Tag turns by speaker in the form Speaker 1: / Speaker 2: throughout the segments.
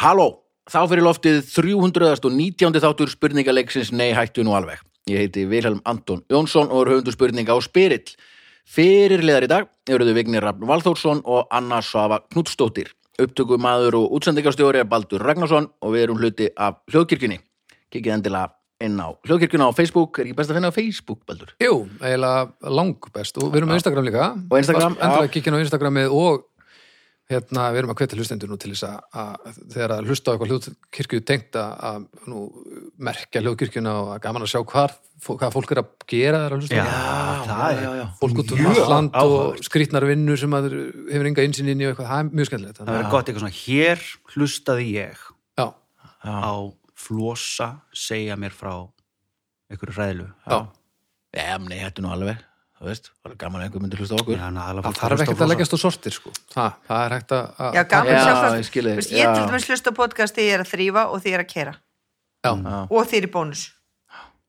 Speaker 1: Halló, þá fyrir loftið 319. þáttur spurningaleiksins Nei hættu nú alveg. Ég heiti Vilhelm Anton Jónsson og er höfundur spurninga á Spyrill. Fyrirliðar í dag eruðu Vignir Rafn Valþórsson og Anna Svava Knutstóttir. Upptökumaður og útsendingastjóri er Baldur Ragnarsson og við erum hluti af hljóðkirkjunni. Kikið endilega inn á hljóðkirkjuna á Facebook. Er ekki best að finna á Facebook, Baldur?
Speaker 2: Jú, eiginlega langbest og við erum með Instagram líka
Speaker 1: Og Instagram,
Speaker 2: Endilega
Speaker 1: já.
Speaker 2: kikkin á Instagramið og hérna, við erum að hvetja hlustendur nú til þess að, að þegar að hlusta á eitthvað hljóðkirkju tengt að, að nú, merkja hljóðkirkjuna og að gaman að sjá hvað, hvað fólk er að gera þegar að hlusta á hana.
Speaker 1: það, já, já.
Speaker 2: fólk út um
Speaker 3: Mjög
Speaker 2: allt land
Speaker 3: áhugavert.
Speaker 2: og skrýtnar vinnu sem maður hefur enga einsinn inn í og eitthvað, það er mjög skemmtilegt
Speaker 3: Það
Speaker 2: þannig
Speaker 3: verður gott eitthvað svona, hér hlustaði ég
Speaker 2: að- já,
Speaker 3: á flosa segja mér frá einhverju ræðlu.
Speaker 2: já,
Speaker 1: Já, men nei hættu nú alveg. Það veist, það er gaman að einhver myndi hlusta á okkur.
Speaker 2: það þarf ekkert að leggjast á sortir sko, það, það er hægt að, að
Speaker 4: Já, gaman
Speaker 1: Já,
Speaker 4: að sjá hvað
Speaker 1: ég skil þig,
Speaker 4: Þú veist, Ég
Speaker 1: já.
Speaker 4: til dæmis hlusta á podcast þegar ég er að þrýfa og þegar ég er að kera
Speaker 2: já,
Speaker 4: og þegar ég er í bónus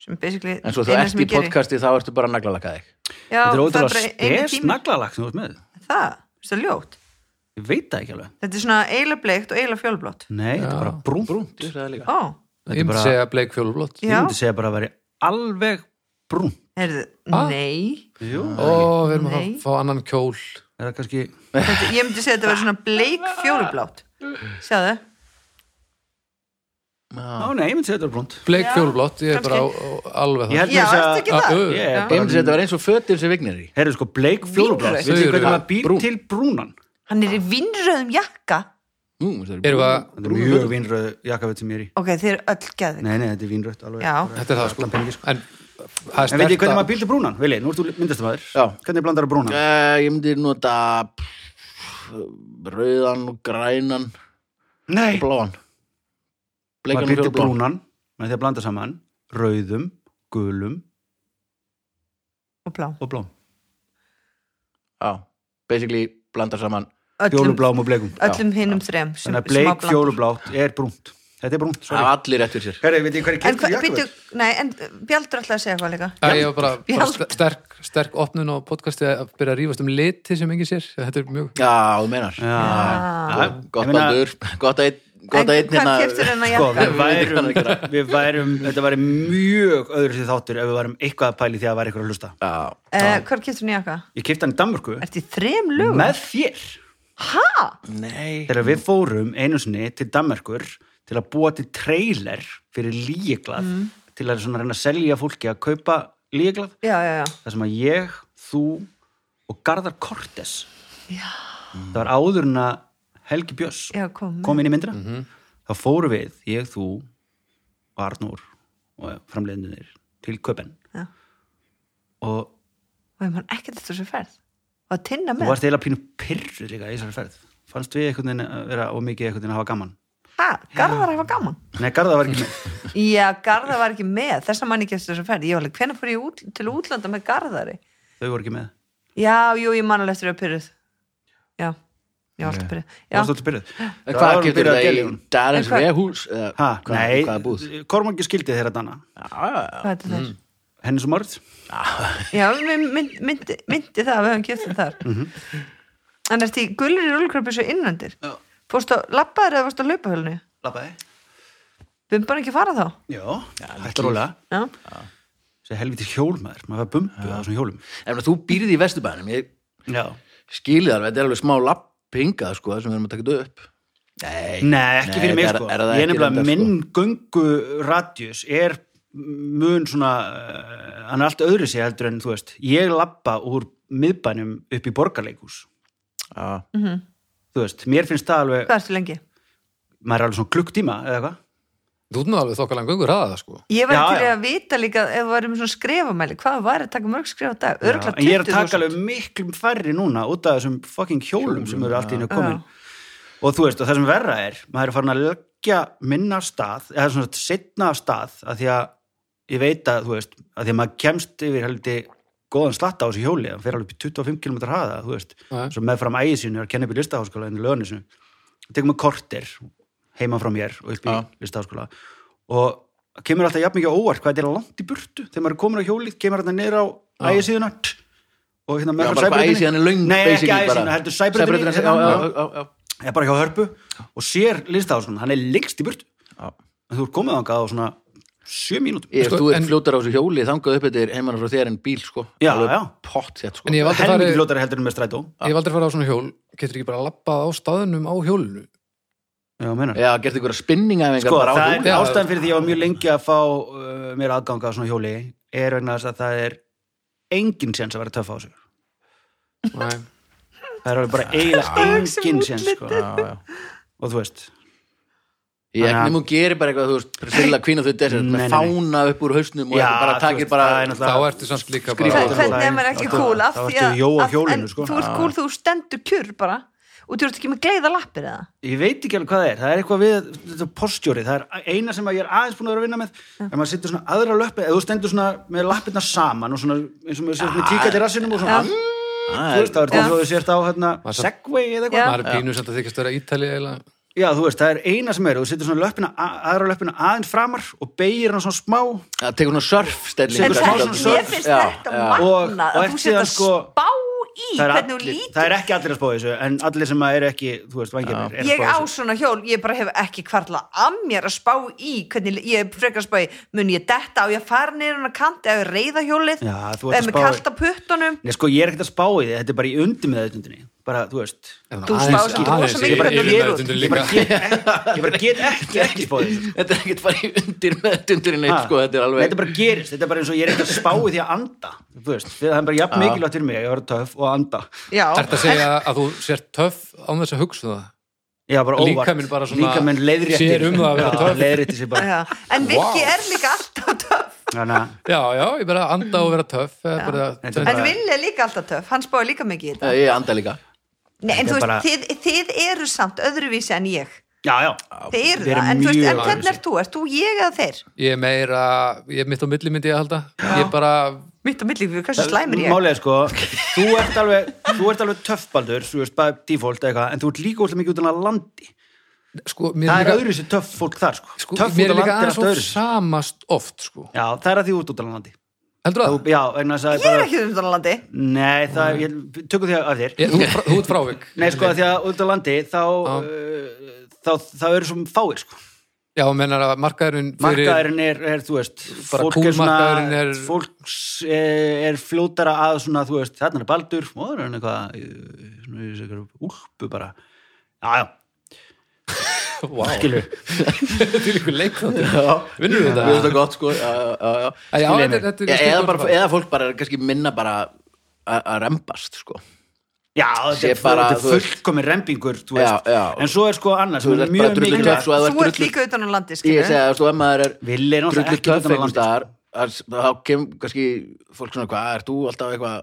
Speaker 4: sem basically
Speaker 1: En svo
Speaker 4: eina
Speaker 1: þú ert
Speaker 4: sem
Speaker 1: í
Speaker 4: ég geri.
Speaker 1: podcasti þá ertu bara að naglalaka þig.
Speaker 4: Já,
Speaker 3: Þetta er
Speaker 4: það
Speaker 3: ótrúlega
Speaker 4: bara einu
Speaker 3: spes
Speaker 4: tími.
Speaker 3: naglalagt sem þú ert með.
Speaker 4: Það, veist það er ljótt
Speaker 3: Ég veit það ekki alveg.
Speaker 4: Þetta er svona eiginlega bleikt og eiginlega fjólblótt
Speaker 3: Nei, þetta er bara brúnt. brúnt.
Speaker 1: Þú sagði líka.
Speaker 4: Ó,
Speaker 3: Þetta er
Speaker 2: ég
Speaker 3: bara-
Speaker 2: segja bleik fjólublót
Speaker 3: Ég
Speaker 4: já,
Speaker 3: myndi segja bara að veri alveg brúnt.
Speaker 4: heyrðu,
Speaker 2: Ah.
Speaker 4: nei
Speaker 3: Jú.
Speaker 2: og við erum að
Speaker 4: Nei.
Speaker 2: fá- fá annan kjól
Speaker 3: Er það kannski...
Speaker 4: Þetta- Ég myndi segja að þetta verður svona bleik fjólblótt Sjáðu,
Speaker 3: Á, nei, ég myndi segja þetta er brúnt.
Speaker 2: Bleik
Speaker 4: Já,
Speaker 2: fjólblótt, ég er bara á, á, alveg
Speaker 3: Ég
Speaker 2: það
Speaker 3: held
Speaker 4: já,
Speaker 3: með þess Ah, uh.
Speaker 4: ertu ekki
Speaker 2: að-
Speaker 4: það?
Speaker 2: að-
Speaker 3: Ég er
Speaker 4: Já.
Speaker 1: Ég myndi
Speaker 3: bara...
Speaker 1: segja að þetta var eins og fötin sem vignir í.
Speaker 3: Herðu sko, bleik fjólublátt.
Speaker 4: Vínrauð.
Speaker 3: Veitu
Speaker 2: Þau eru
Speaker 3: hvernig maður býr
Speaker 1: brún.
Speaker 3: til brúnan?
Speaker 4: Hann er í vinnröðum jakka
Speaker 1: Mm, þetta
Speaker 2: Erum við að-
Speaker 3: Þetta er mjög vínröð jakkafett sem ég er í.
Speaker 4: Ok, þeir eru öll geðvik
Speaker 3: Nei, nei, þetta er vínröð alveg.
Speaker 4: Já.
Speaker 2: Þetta er það sko
Speaker 3: Allan peninginn, En
Speaker 2: En það er
Speaker 3: veit ég
Speaker 2: stert
Speaker 3: hvernig maður
Speaker 2: að
Speaker 3: býr til brúnan? Vili, nú ertu myndastamæður.
Speaker 1: Já.
Speaker 3: Hvernig blandar að brúnan?
Speaker 1: Eh, Ég myndi nota pff, rauðan og grænan
Speaker 3: Nei.
Speaker 1: og bláan
Speaker 3: maður
Speaker 1: Bleikan og
Speaker 3: byrti
Speaker 1: fjólblóan
Speaker 3: brúnan með því að blanda saman rauðum, gulum
Speaker 4: og blá
Speaker 3: og blám
Speaker 1: Já, basically blandar saman
Speaker 4: Öllum,
Speaker 3: fjólublám og bleikum
Speaker 4: öllum hinum
Speaker 3: þannig
Speaker 4: þrem sem,
Speaker 3: að
Speaker 4: sem á
Speaker 3: bleik
Speaker 4: blandan.
Speaker 3: fjólublátt er brúnt þetta er brúnt,
Speaker 1: Það
Speaker 3: sorry
Speaker 1: er allir rétt fyrir sér
Speaker 3: Herri, veit ég hvað ég kefti
Speaker 4: En hvað,
Speaker 3: í
Speaker 4: býttu,
Speaker 3: jakkaföt?
Speaker 4: nei, en uh, Bjaldur ætlaði að segja eitthvað líka
Speaker 2: Já, ég var bara, bara
Speaker 4: Já.
Speaker 2: st- sterk, sterk opnun á podcasti að byrja að rífast um liti sem engin sér Þetta er mjög
Speaker 1: Já, þú meinar
Speaker 3: Já. Já. Ég
Speaker 1: Gott
Speaker 3: meina,
Speaker 1: baldur, gott að einn gott að
Speaker 4: En
Speaker 1: einn hérna-
Speaker 4: hvað keftur hennar
Speaker 3: sko,
Speaker 4: jakka?
Speaker 3: við
Speaker 1: Við vitum hvað það
Speaker 3: værum,
Speaker 1: gera.
Speaker 3: við værum þetta væri mjög öðru sér þáttur ef við værum eitthvað að pæli því að það væri eitthvað að hlusta
Speaker 1: Já,
Speaker 4: Uh, hvað keftur hennar jakka?
Speaker 3: ég kefti hann í Danmörku
Speaker 4: Ertu í þrem lögum?
Speaker 3: með þér
Speaker 1: nei
Speaker 3: þegar við fórum einu sinni til Danmörkur til að búa til trailer fyrir líeglað
Speaker 4: Mm.
Speaker 3: til að svona reyna að selja fólki að kaupa líeglað
Speaker 4: Já, já, já.
Speaker 3: þar sem að ég, þú og Garðar Kortes Já. það var áður en að Helgi Björns
Speaker 4: Já, kom með.
Speaker 3: kom inn í myndina
Speaker 1: Mhm.
Speaker 3: þá fóru við, ég, þú og Arnór og framleiðinir til Köpen
Speaker 4: Já.
Speaker 3: og
Speaker 4: Og ég man ekkert eftir þessu ferð. Og að tinna
Speaker 3: þú
Speaker 4: með.
Speaker 3: varst eiginlega pínu pyrru líka í þessari ferð fannst við einhvern veginn að vera og mikið einhvern veginn að hafa gaman
Speaker 4: Ha, Garðar hafa gaman.
Speaker 3: nei, Garðar var ekki með
Speaker 4: Já, Garðar var ekki með. Þess að man ekki eftir þessu ferð. Ég var alveg, hvenær fór ég út, til útlanda með Garðari?
Speaker 3: þau voru ekki með
Speaker 4: Já, jú, ég man alveg eftir að pyrruð. Já, ég var alltaf pyrruð. Já,
Speaker 3: Varstu alltaf pyrruð?
Speaker 1: En
Speaker 3: Það
Speaker 1: Hvað
Speaker 3: var
Speaker 1: keftur
Speaker 3: byrjað að
Speaker 1: það
Speaker 3: gera
Speaker 1: í
Speaker 3: honum.
Speaker 1: Darins
Speaker 4: En hvað-
Speaker 1: Vehús?
Speaker 3: Ha, nei,
Speaker 1: Hvaða búð?
Speaker 3: Kormangi skildi þeirra dana
Speaker 4: hvað er þetta þess?
Speaker 3: henni svo margt
Speaker 4: Já, við mynd- myndi, myndi það að við höfum kjöftum þar
Speaker 3: Mhm.
Speaker 4: En ertu í gullir í rúlukröpu svo innvendir Fórstu að labbaður eða fórstu að laupahölnu
Speaker 3: Lappaði
Speaker 4: Við höfum bara ekki að fara þá
Speaker 3: Já, hægt að róla
Speaker 4: Já,
Speaker 3: þessi helviti hjólmaður, maður fær bumbu á svona hjólum
Speaker 1: Ef þú býrði í Vesturbænum, ég
Speaker 3: Já.
Speaker 1: skilið alveg, þetta er alveg smá lappinga sko, sem við erum að taka þetta upp Nei,
Speaker 3: Nei, ekki fyrir mig
Speaker 1: er-
Speaker 3: sko
Speaker 1: er það
Speaker 3: Ég er
Speaker 1: ekki
Speaker 3: nefnilega,
Speaker 1: reyndar, sko?
Speaker 3: minn göngu radjus er mun svona, eh, hann er allt öðru sér heldur en þú veist, ég lappa úr miðbænum upp í borgarleikús
Speaker 1: sko. Já.
Speaker 3: þú veist, mér finnst það alveg
Speaker 4: hvað ertu lengi?
Speaker 3: maður er alveg svona klukktíma eða eitthvað
Speaker 2: Þú ert nú alveg þokkalega göngur að það sko
Speaker 4: Ég var
Speaker 3: Já,
Speaker 4: til
Speaker 3: já.
Speaker 4: að vita líka ef við varum svona skrefamæli Hvað var að taka mörg skref á dag? Örgla
Speaker 3: en ég er að taka
Speaker 4: 20.000
Speaker 3: alveg miklum færri núna út af þessum fucking hjólum sem eru allt í hennu komin og þú veist, og það sem verra er maður er farin að leggja minna af stað eða svona setna af stað að því að ég veit að, þú veist, að því að maður kemst yfir heldi góðan slatta á þessu hjóli hann fer alveg upp í 25 km hraða, þú veist
Speaker 2: Já.
Speaker 3: svo meðfram ægið sínu er að kenna upp í listaháskóla en í lögni sinu, tekum við kortir heima frá mér og upp í
Speaker 1: Já.
Speaker 3: listaháskóla og kemur alltaf jafn mikið á óvart hvað þetta er langt í burtu þegar maður er komin á hjólið, kemur hérna niður á ægið síðuna og hérna
Speaker 1: Já,
Speaker 3: meðfram
Speaker 1: bara hvað æsið
Speaker 3: sæbrautinni-
Speaker 1: hann er löng
Speaker 3: Nei, ekki
Speaker 1: basically,
Speaker 3: ægið
Speaker 1: bara-
Speaker 3: síðuna, heldur hérna. sæbröðinni
Speaker 1: Sæbrautin, já, já, já, já.
Speaker 3: er bara hjá hörpu og sér listaháskunum, hann er lengst í burt
Speaker 1: Já.
Speaker 3: en þú ert komið þangað á svona sjö mínútum
Speaker 1: Ég,
Speaker 2: Sko,
Speaker 1: þú ert
Speaker 2: en-
Speaker 1: fljótar á þessu hjóli þangað upp þetta er heimann frá þér en bíl sko
Speaker 3: Já,
Speaker 1: Alveg
Speaker 3: já.
Speaker 1: pott þett sko
Speaker 2: En ég hef aldrei
Speaker 3: helmingi
Speaker 2: farið,
Speaker 3: fljótari heldur en með strætó
Speaker 2: ég hef aldrei farið á svona hjól, getur ekki bara að labba á staðunum á hjólinu.
Speaker 3: Já, meinar.
Speaker 1: Já, gert ykkur að spinninga
Speaker 3: sko, það er
Speaker 2: Já.
Speaker 3: ástæðan fyrir því ég var mjög lengi að fá uh, mér aðganga á svona hjóli er vegna þess að það er engin séns að vera töff á þessu
Speaker 2: Nei.
Speaker 3: það er alveg bara eiginlega engin séns sko.
Speaker 1: Já, já.
Speaker 3: og þú veist
Speaker 1: Ég
Speaker 3: Þannig að-
Speaker 1: nefnum hún gerir bara eitthvað, þú veist, Priscilla Queen of the
Speaker 3: Nei,
Speaker 1: Desert
Speaker 3: nei,
Speaker 1: með
Speaker 3: nei.
Speaker 1: fána upp úr hausnum
Speaker 3: Já,
Speaker 1: og eitthvað, bara
Speaker 3: þú
Speaker 1: takir
Speaker 3: veist,
Speaker 1: bara
Speaker 3: það er náttúrulega-
Speaker 2: Þá ertu samt líka
Speaker 1: Skrýtið.
Speaker 2: bara...
Speaker 1: Skrifa.
Speaker 4: hvernig er maður ekki
Speaker 3: Þá ertu-
Speaker 4: cool af
Speaker 3: þá
Speaker 4: því
Speaker 3: ertu
Speaker 4: að
Speaker 3: jó á
Speaker 4: að-
Speaker 3: hjólinu,
Speaker 4: en
Speaker 3: sko.
Speaker 4: þú ert cool þú stendur kjur bara og þú ert ekki með gleiða lappir eða
Speaker 3: ég veit ekki alveg hvað það er, það er eitthvað við þetta postjóri, það er eina sem að ég er aðeins búin að vera að vinna með, en maður sittur svona aðra löppi, eða þú stendur svona með lappirna saman og svona, eins og maður sér með tíkat í rassinum og svona, mm, þú veist, það er það
Speaker 4: Já.
Speaker 3: svo þú sért á hérna,
Speaker 2: Maður svo-
Speaker 3: segway eða eitthvað
Speaker 4: Já.
Speaker 2: Maður er pínu sem þetta þykist að vera ítali eða...
Speaker 3: já, þú veist, það er eina sem er, þú sittur svona löppina, a- aðra löppina aðeins framar og beigir hana svona smá og,
Speaker 1: Það tekur svona surfstelling
Speaker 3: Tekur
Speaker 4: en
Speaker 3: smá
Speaker 4: það,
Speaker 3: svona
Speaker 4: mér
Speaker 3: surf,
Speaker 4: finnst
Speaker 1: já,
Speaker 4: þetta
Speaker 1: já.
Speaker 4: magna
Speaker 3: og
Speaker 4: að þú
Speaker 3: eftir
Speaker 4: setja
Speaker 3: það sko
Speaker 4: spá í
Speaker 3: það er,
Speaker 4: hvernig þú
Speaker 3: allir, það
Speaker 4: lítur
Speaker 3: er ekki allir að spá í þessu, en allir sem að er ekki, þú veist, vangir mér, er að spá
Speaker 4: ég á
Speaker 3: í þessu.
Speaker 4: svona hjól, ég bara hef ekki kvarlað að mér að spá í hvernig ég er frekar að spá í, mun ég detta á ég að fara niður hann að kanti, á ég að reyða hjólið
Speaker 3: Já, þú ert
Speaker 4: eða
Speaker 3: að
Speaker 4: með
Speaker 3: spá í-
Speaker 4: kalt á puttunum
Speaker 3: Nei, sko, ég er ekkert að spá í því, þetta er bara í undir með bara, þú veist,
Speaker 4: Þú spáir samt rosa mikið
Speaker 3: ég bara
Speaker 4: hvernig þú
Speaker 3: get-
Speaker 4: lítur út.
Speaker 3: ég bara get ekki, ég bara get ekki, ekki spá í þessu
Speaker 1: Þetta er ekkert bara í undir með tundurinn eitt,
Speaker 3: Ha,
Speaker 1: sko, þetta er alveg
Speaker 3: þetta bara gerist, þetta er bara eins og ég er ekkert að spá í því að anda þú veist, það er bara jafn mikilvægt fyrir mig að ég var töf og að anda
Speaker 4: já,
Speaker 2: Þetta að segja að þú sér töff án þess að hugsa það.
Speaker 3: Já, bara óvart.
Speaker 2: Líkaminn bara svona
Speaker 3: Líkaminn leiðréttir
Speaker 2: sér um það að vera
Speaker 3: Já,
Speaker 2: töff.
Speaker 3: leiðréttir sér bara
Speaker 4: já. en Viki er líka alltaf töff
Speaker 3: þannig að
Speaker 2: Já, já, ég bara anda og vera töff. eða
Speaker 4: Já.
Speaker 2: bara-
Speaker 3: Þetta er
Speaker 4: en
Speaker 3: bara-
Speaker 4: Villi er líka alltaf töff, hann spáir líka mikið í þetta
Speaker 1: Já, Eh, Ég anda líka
Speaker 4: Nei, en
Speaker 3: Þetta
Speaker 4: þú
Speaker 3: er
Speaker 4: veist,
Speaker 3: bara-
Speaker 4: þið, þið eru samt öðruvísi en ég
Speaker 3: já, já,
Speaker 4: Þið eru
Speaker 3: Þið eru
Speaker 4: það, en þú veist,
Speaker 3: mjög
Speaker 4: en hvernig
Speaker 3: öðruvísi.
Speaker 4: ert þú? Ert þú ég eða þeir?
Speaker 2: Ég er meira, ég er mitt á milli myndi ég að halda. Ég bara,
Speaker 4: Mitt og milli, hversu slæmir ég?
Speaker 3: Málega sko, þú ert alveg þú ert alveg töff, Baldur, þú veist, bara default eða eitthvað, en þú ert líka útla mikið út en að landi
Speaker 2: sko, mér
Speaker 3: það
Speaker 2: er
Speaker 3: er
Speaker 2: líka,
Speaker 3: öðru sér töff fólk þar sko,
Speaker 2: sko,
Speaker 3: töff
Speaker 2: mér
Speaker 3: út
Speaker 2: er
Speaker 3: að
Speaker 2: líka
Speaker 3: landi er
Speaker 2: aðeins
Speaker 3: allt
Speaker 2: of
Speaker 3: öðru
Speaker 2: samast oft, sko.
Speaker 3: já, það er að því út út að landi
Speaker 2: Heldur það?
Speaker 3: já, vegna þess að
Speaker 4: Ég
Speaker 3: það
Speaker 4: er
Speaker 3: bara
Speaker 4: ekki um þetta landi
Speaker 3: nei, það, ég tökum því af þér
Speaker 2: Ég- Þú ert frá- þú ert frávik.
Speaker 3: Nei, sko, að því að út á landi þá, uh, þá, þá eru svo fáir, sko.
Speaker 2: Já, mennar að markaðurinn fyrir...
Speaker 3: Markaðurinn er, er, þú veist,
Speaker 2: Bara
Speaker 3: fólk er
Speaker 2: kúlmarkaðurinn
Speaker 3: svona,
Speaker 2: er-
Speaker 3: fólks eh, er, er fljótara að svona, þú veist, þarna er baldur, og það er hann eitthvað, eh, svona, í þessu einhverju úlpu bara. Já, já,
Speaker 2: Vá,
Speaker 3: skilur.
Speaker 2: til ykkur leikþáttur. Vinnur við
Speaker 1: Mér
Speaker 2: þetta?
Speaker 1: finnst það gott, sko já, já, já.
Speaker 2: Já, já,
Speaker 1: Skilja
Speaker 2: þetta-
Speaker 1: mig.
Speaker 2: þetta er-
Speaker 1: Já,
Speaker 2: þetta er
Speaker 1: eða,
Speaker 2: gott
Speaker 1: bara,
Speaker 2: val.
Speaker 1: eða fólk bara er kannski minna bara að að rembast sko.
Speaker 3: Já, þetta
Speaker 1: Sé
Speaker 3: er, bara,
Speaker 1: bara, þú
Speaker 3: þetta er
Speaker 1: veist-
Speaker 3: fullkomin rembingur, þú
Speaker 1: Já,
Speaker 3: veist.
Speaker 1: já.
Speaker 3: En svo er sko annars,
Speaker 1: Þú
Speaker 3: sem er
Speaker 1: ert bara
Speaker 3: mjög
Speaker 1: drullu töff
Speaker 3: mikilvægt.
Speaker 1: svo ef
Speaker 4: Þú ert
Speaker 1: drullu-
Speaker 4: líka utan á landi,
Speaker 1: Ég
Speaker 4: skilur
Speaker 1: segi að, sko, ef maður er
Speaker 3: Villi er náttúrulega
Speaker 1: drullu
Speaker 3: ekki um
Speaker 1: töff
Speaker 3: utan á
Speaker 1: einhvers
Speaker 3: landi,
Speaker 1: staðar að- þá kemur kannski fólk svona, hvað, ert þú alltaf eitthvað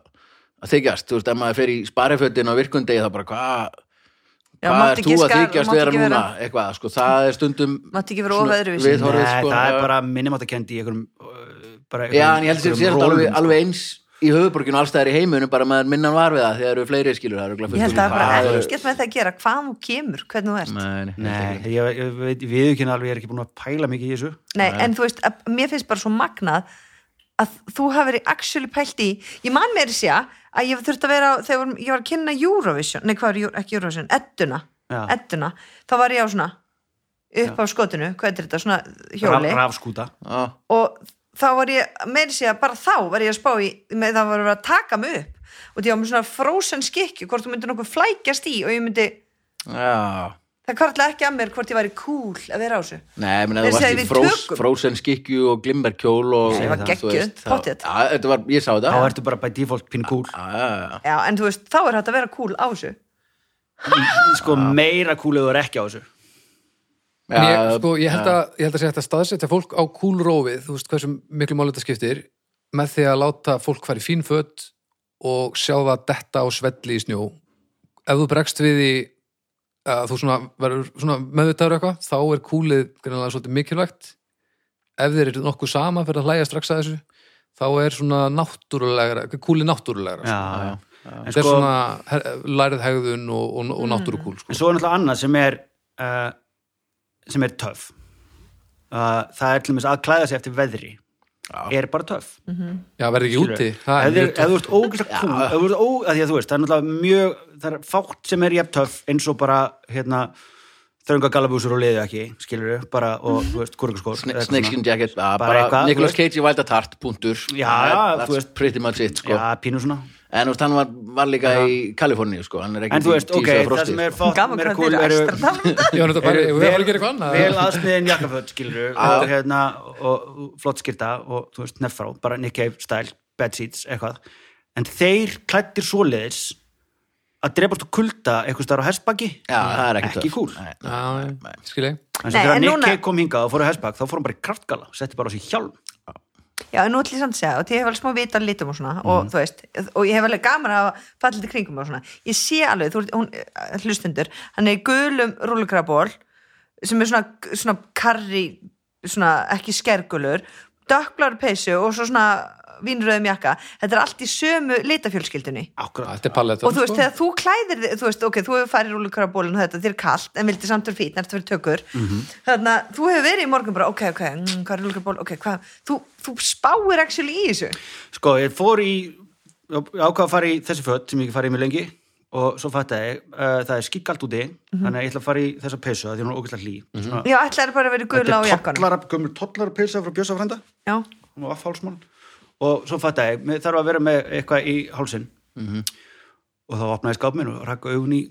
Speaker 1: að þykjast, þú veist, ef maður fer í sparifötin og virkundegi þá bara, hvað
Speaker 4: Já,
Speaker 1: hvað
Speaker 4: mátt
Speaker 1: er þú
Speaker 4: ekki
Speaker 1: að
Speaker 4: skar-
Speaker 1: þykjast
Speaker 4: mátt
Speaker 1: vera
Speaker 4: ekki
Speaker 1: núna
Speaker 4: vera-
Speaker 1: eitthvað, sko, það er stundum
Speaker 4: Mátt ekki vera
Speaker 1: svona
Speaker 4: of öðruvísi.
Speaker 1: viðhorfið,
Speaker 3: Nei,
Speaker 1: sko,
Speaker 3: það er
Speaker 1: já.
Speaker 3: bara minnimáttakendi í einhverjum, uh, bara
Speaker 1: já, en ég held sér
Speaker 3: einhverjum
Speaker 1: sér
Speaker 3: rólum,
Speaker 1: alveg,
Speaker 3: sko.
Speaker 1: alveg eins í höfuborginu allstæðar í heiminum bara maður minnan var við það þegar eru fleiri skilur það eru glöfum
Speaker 4: Ég held að það er bara
Speaker 1: er-
Speaker 4: ekkert með það að gera Hvaðan þú kemur, hvernig þú ert Nei,
Speaker 1: Nei, nei.
Speaker 3: Nei, ég, ég veit, ég viðurkenni alveg, ég er ekki búin að pæla mikið í þessu.
Speaker 4: en þú veist, að, mér finnst bara svo magnað að þú hafi verið actually pælt í Ég man meiri sér að ég þurfti að vera á- þegar vorum- ég var að kynna Eurovision Nei, hvað er Euro- ekki Eurovision? Edduna
Speaker 3: Já.
Speaker 4: Edduna, þá var ég á svona upp á skotinu, hvað er þetta, svona
Speaker 3: Raf,
Speaker 4: hjóli
Speaker 3: rafskúta.
Speaker 1: Já.
Speaker 4: og þá var ég, meiri sig að bara þá var ég að spá í, með það var að vera að taka mig upp og því ég var með svona frozen skikju hvort þú myndir nokkuð flækjast í og ég myndi
Speaker 1: Já.
Speaker 4: það kvartlega ekki að mér hvort ég væri cool að vera á þessu
Speaker 1: Nei, ég meina,
Speaker 4: Þeir
Speaker 1: þú
Speaker 4: segja
Speaker 1: varst í
Speaker 4: við
Speaker 1: frós,
Speaker 4: tökum.
Speaker 1: frósen skikju og glimmerkjól og
Speaker 4: Ég var
Speaker 1: þú
Speaker 4: geggjuð,
Speaker 1: veist, þá-
Speaker 4: pottþétt.
Speaker 1: Já, þetta var, ég sá þetta
Speaker 3: Þá
Speaker 1: Já,
Speaker 3: ertu bara by default pínu cool.
Speaker 1: já, já.
Speaker 4: já, en þú veist, þá er hægt að vera cool á þessu
Speaker 3: Sko meira cool eða þú er ekki á þessu.
Speaker 2: En Ég,
Speaker 1: Já,
Speaker 2: sko, ég held að, ég held að segja þetta staðsetja fólk á kúlrófið, þú veist hversu miklu máli þetta skiptir, með því að láta fólk fara í fín fött og sjá það detta á svelli í snjó. Ef þú bregst við því að þú svona verður svona meðvitaður eitthvað, þá er kúlið greinlega svolítið mikilvægt. Ef þeir eru nokkuð sama fyrir að hlæja strax að þessu, þá er svona náttúrulegra, kúlið náttúrulegra.
Speaker 3: Já,
Speaker 2: sko.
Speaker 3: já. En
Speaker 2: Þetta er
Speaker 3: sko,
Speaker 2: svona her- lærið hegðun og, og, og náttúrukúl.
Speaker 3: en
Speaker 2: Sko.
Speaker 3: svo er náttúrulega annað sem er, uh, sem er töff. Uh, það er til dæmis að klæða sig eftir veðri. Er bara töff.
Speaker 2: Já, verði ekki úti.
Speaker 3: Ef
Speaker 2: það
Speaker 3: þér-
Speaker 2: er mjög
Speaker 3: ef þú ert ógæslega cool, ef þú ert ó, að því að þú veist, það er náttúrulega mjög það er fátt sem er jafn töff eins og bara hérna þrönga galabúsur og liðu ekki skilur við, bara og þú veist, kurkaskór eða eitthvað
Speaker 1: Snakeskin
Speaker 3: svona.
Speaker 1: jacket, bara,
Speaker 3: Bara
Speaker 1: bara
Speaker 3: eitthvað,
Speaker 1: Nicolas
Speaker 3: þú
Speaker 1: Cage í Wild at Heart, punktur
Speaker 3: Já,
Speaker 1: That-
Speaker 3: já,
Speaker 1: that's
Speaker 3: þú veist.
Speaker 1: pretty much it, sko
Speaker 3: Já, pínu svona
Speaker 1: en þú veist, hann var, var líka í Kaliforníu, sko hann er ekki
Speaker 3: En þú veist, ok, það sem
Speaker 1: sko.
Speaker 3: er fátt
Speaker 4: gaman
Speaker 3: meira
Speaker 4: hvað
Speaker 3: kúl
Speaker 4: þeir eru
Speaker 3: eru
Speaker 4: ekstra að tala um þetta
Speaker 2: Ég var náttúrulega bara, ég var að gera eitthvað annað.
Speaker 3: vel aðsniðin jakkaföld, skilur við og hérna, og og flott skýrta og þú veist, nefnfrá, bara Nick Cave style bed seats, eitthvað en þeir klættir svoleiðis að drefast og kulda eitthvað starf á hestbaki
Speaker 1: já, það er ekki,
Speaker 3: ekki
Speaker 1: töff.
Speaker 3: kúl
Speaker 1: Nei, nei.
Speaker 2: Já, já, skil
Speaker 3: en
Speaker 2: ég.
Speaker 4: Nei,
Speaker 3: svo þegar
Speaker 4: en
Speaker 3: Nick
Speaker 4: núna-
Speaker 3: Cave kom hingað og fór á hestbak þá fór hann bara í kraftgala, setti bara á sig hjálm
Speaker 4: Já, en nú ætlum ég samt að segja, og því ég hef alveg smá vita á litum og svona,
Speaker 3: Mhm.
Speaker 4: og þú veist, og ég hef alveg gaman að falla til kringum og svona. Ég sé alveg, þú ert, hún, eh, hlustundur, hann er í gulum rúlugraból, sem er svona, svona karri, svona ekki skergulur, döklar peysu og svo svona vínröðum jakka. Þetta er allt í sömu litafjölskyldunni.
Speaker 3: akkurat,
Speaker 2: Þetta er palletan,
Speaker 4: Og þú veist, þegar þú klæðir þig, þú veist, ok, þú hefur farið rúlugrabólinn og þetta, þér er kalt, en vildi samtur fít, nært fyrir tökur.
Speaker 3: Mhm.
Speaker 4: Þannig að þú hefur verið í morgun bara, ok, ok, mm, hvað er rúlugraból, ok, hvað, þú, þú spáir actually í þessu.
Speaker 3: sko, ég fór í ákvað að fara í þessi fött sem ég ekki farið í mjög lengi og svo fattaði ég, uh, það er skikkallt úti
Speaker 4: Mhm.
Speaker 3: þannig að ég ætla að fara í þessa peysu af því hún er ógæslega hlý
Speaker 1: Mhm.
Speaker 3: mm -hmm.
Speaker 4: Já, ætlaði bara að vera í gula á jakkanum.
Speaker 3: tollara, gömur tollara peysa frá Bjösa frænda
Speaker 4: Já,
Speaker 3: hún var vaffhálsmann og svo fattaði ég, mér þarf að vera með eitthvað í hálsin
Speaker 2: Mhm.
Speaker 3: og þá opnaði skáp minn og rakka augun í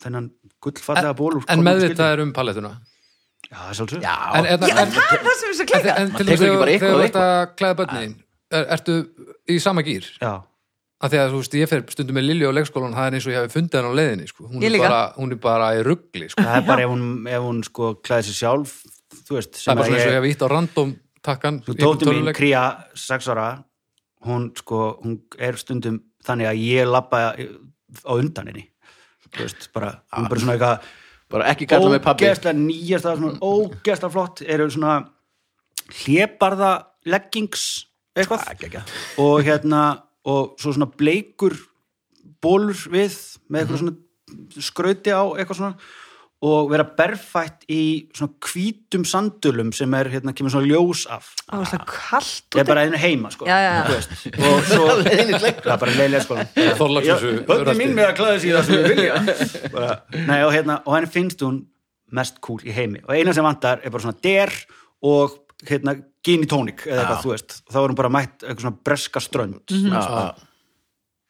Speaker 3: þennan gullfallega ból úr
Speaker 2: En
Speaker 3: kolum
Speaker 2: meðvitað er um palletuna.
Speaker 3: skildi. já, það er sjálfsög
Speaker 1: já,
Speaker 2: En, en,
Speaker 4: já
Speaker 2: en,
Speaker 4: það er það sem þessu klika.
Speaker 2: en til
Speaker 1: Maður tekur ekki
Speaker 2: þess að
Speaker 1: bara
Speaker 2: þegar
Speaker 1: eitthvað
Speaker 2: þú
Speaker 1: og
Speaker 2: ert að klæða börnin, er, ertu í sama gýr?
Speaker 3: já,
Speaker 2: Af því að þú veist, ég fer stundum með Lilju á leikskólan, það er eins og ég hafi fundið hann á leiðinni, sko. Hún
Speaker 4: Ég
Speaker 2: er
Speaker 4: líka.
Speaker 2: bara, hún er bara í ruggli, sko.
Speaker 3: það er bara ef hún, ef hún sko klæði sér sjálf þú veist,
Speaker 2: Það
Speaker 3: sem
Speaker 2: er bara svona eins og ég
Speaker 3: að ég,
Speaker 2: hafi ítt á random takkan. í einhvern
Speaker 3: tóti mín,
Speaker 2: tölvuleik.
Speaker 3: Kría sex ára, hún sko hún er stundum þannig að ég labba á undan henni þú veist, bara, hún er bara svona eitthvað
Speaker 1: bara ekki kalla mig pabbi
Speaker 3: ógeðslega nýjasta, svona ógeðslega flott eru svona hlébarða leggings eitthvað og hérna og svo svona bleikur bólur við með eitthvað svona skrauti á eitthvað svona og vera berfætt í svona hvítum sandulum sem er hérna kemur svona ljós af
Speaker 4: Það var svona kallt
Speaker 3: ég er
Speaker 4: út.
Speaker 3: bara einu heima sko
Speaker 4: Já, já, já.
Speaker 3: þú veist. og svo það er bara leiðilega sko
Speaker 2: Þorlákshúsu,
Speaker 3: bönni mín
Speaker 2: rölti.
Speaker 3: með að klæða sig í það sem ég vilja bara, nei, og, hérna, og henni finnst hún mest cool í heimi og eina sem vantar er bara svona der og hérna gin í tónik eða eitthvað þú veist þá er hún bara mætt eitthvað svona breska strönd
Speaker 1: Já, já.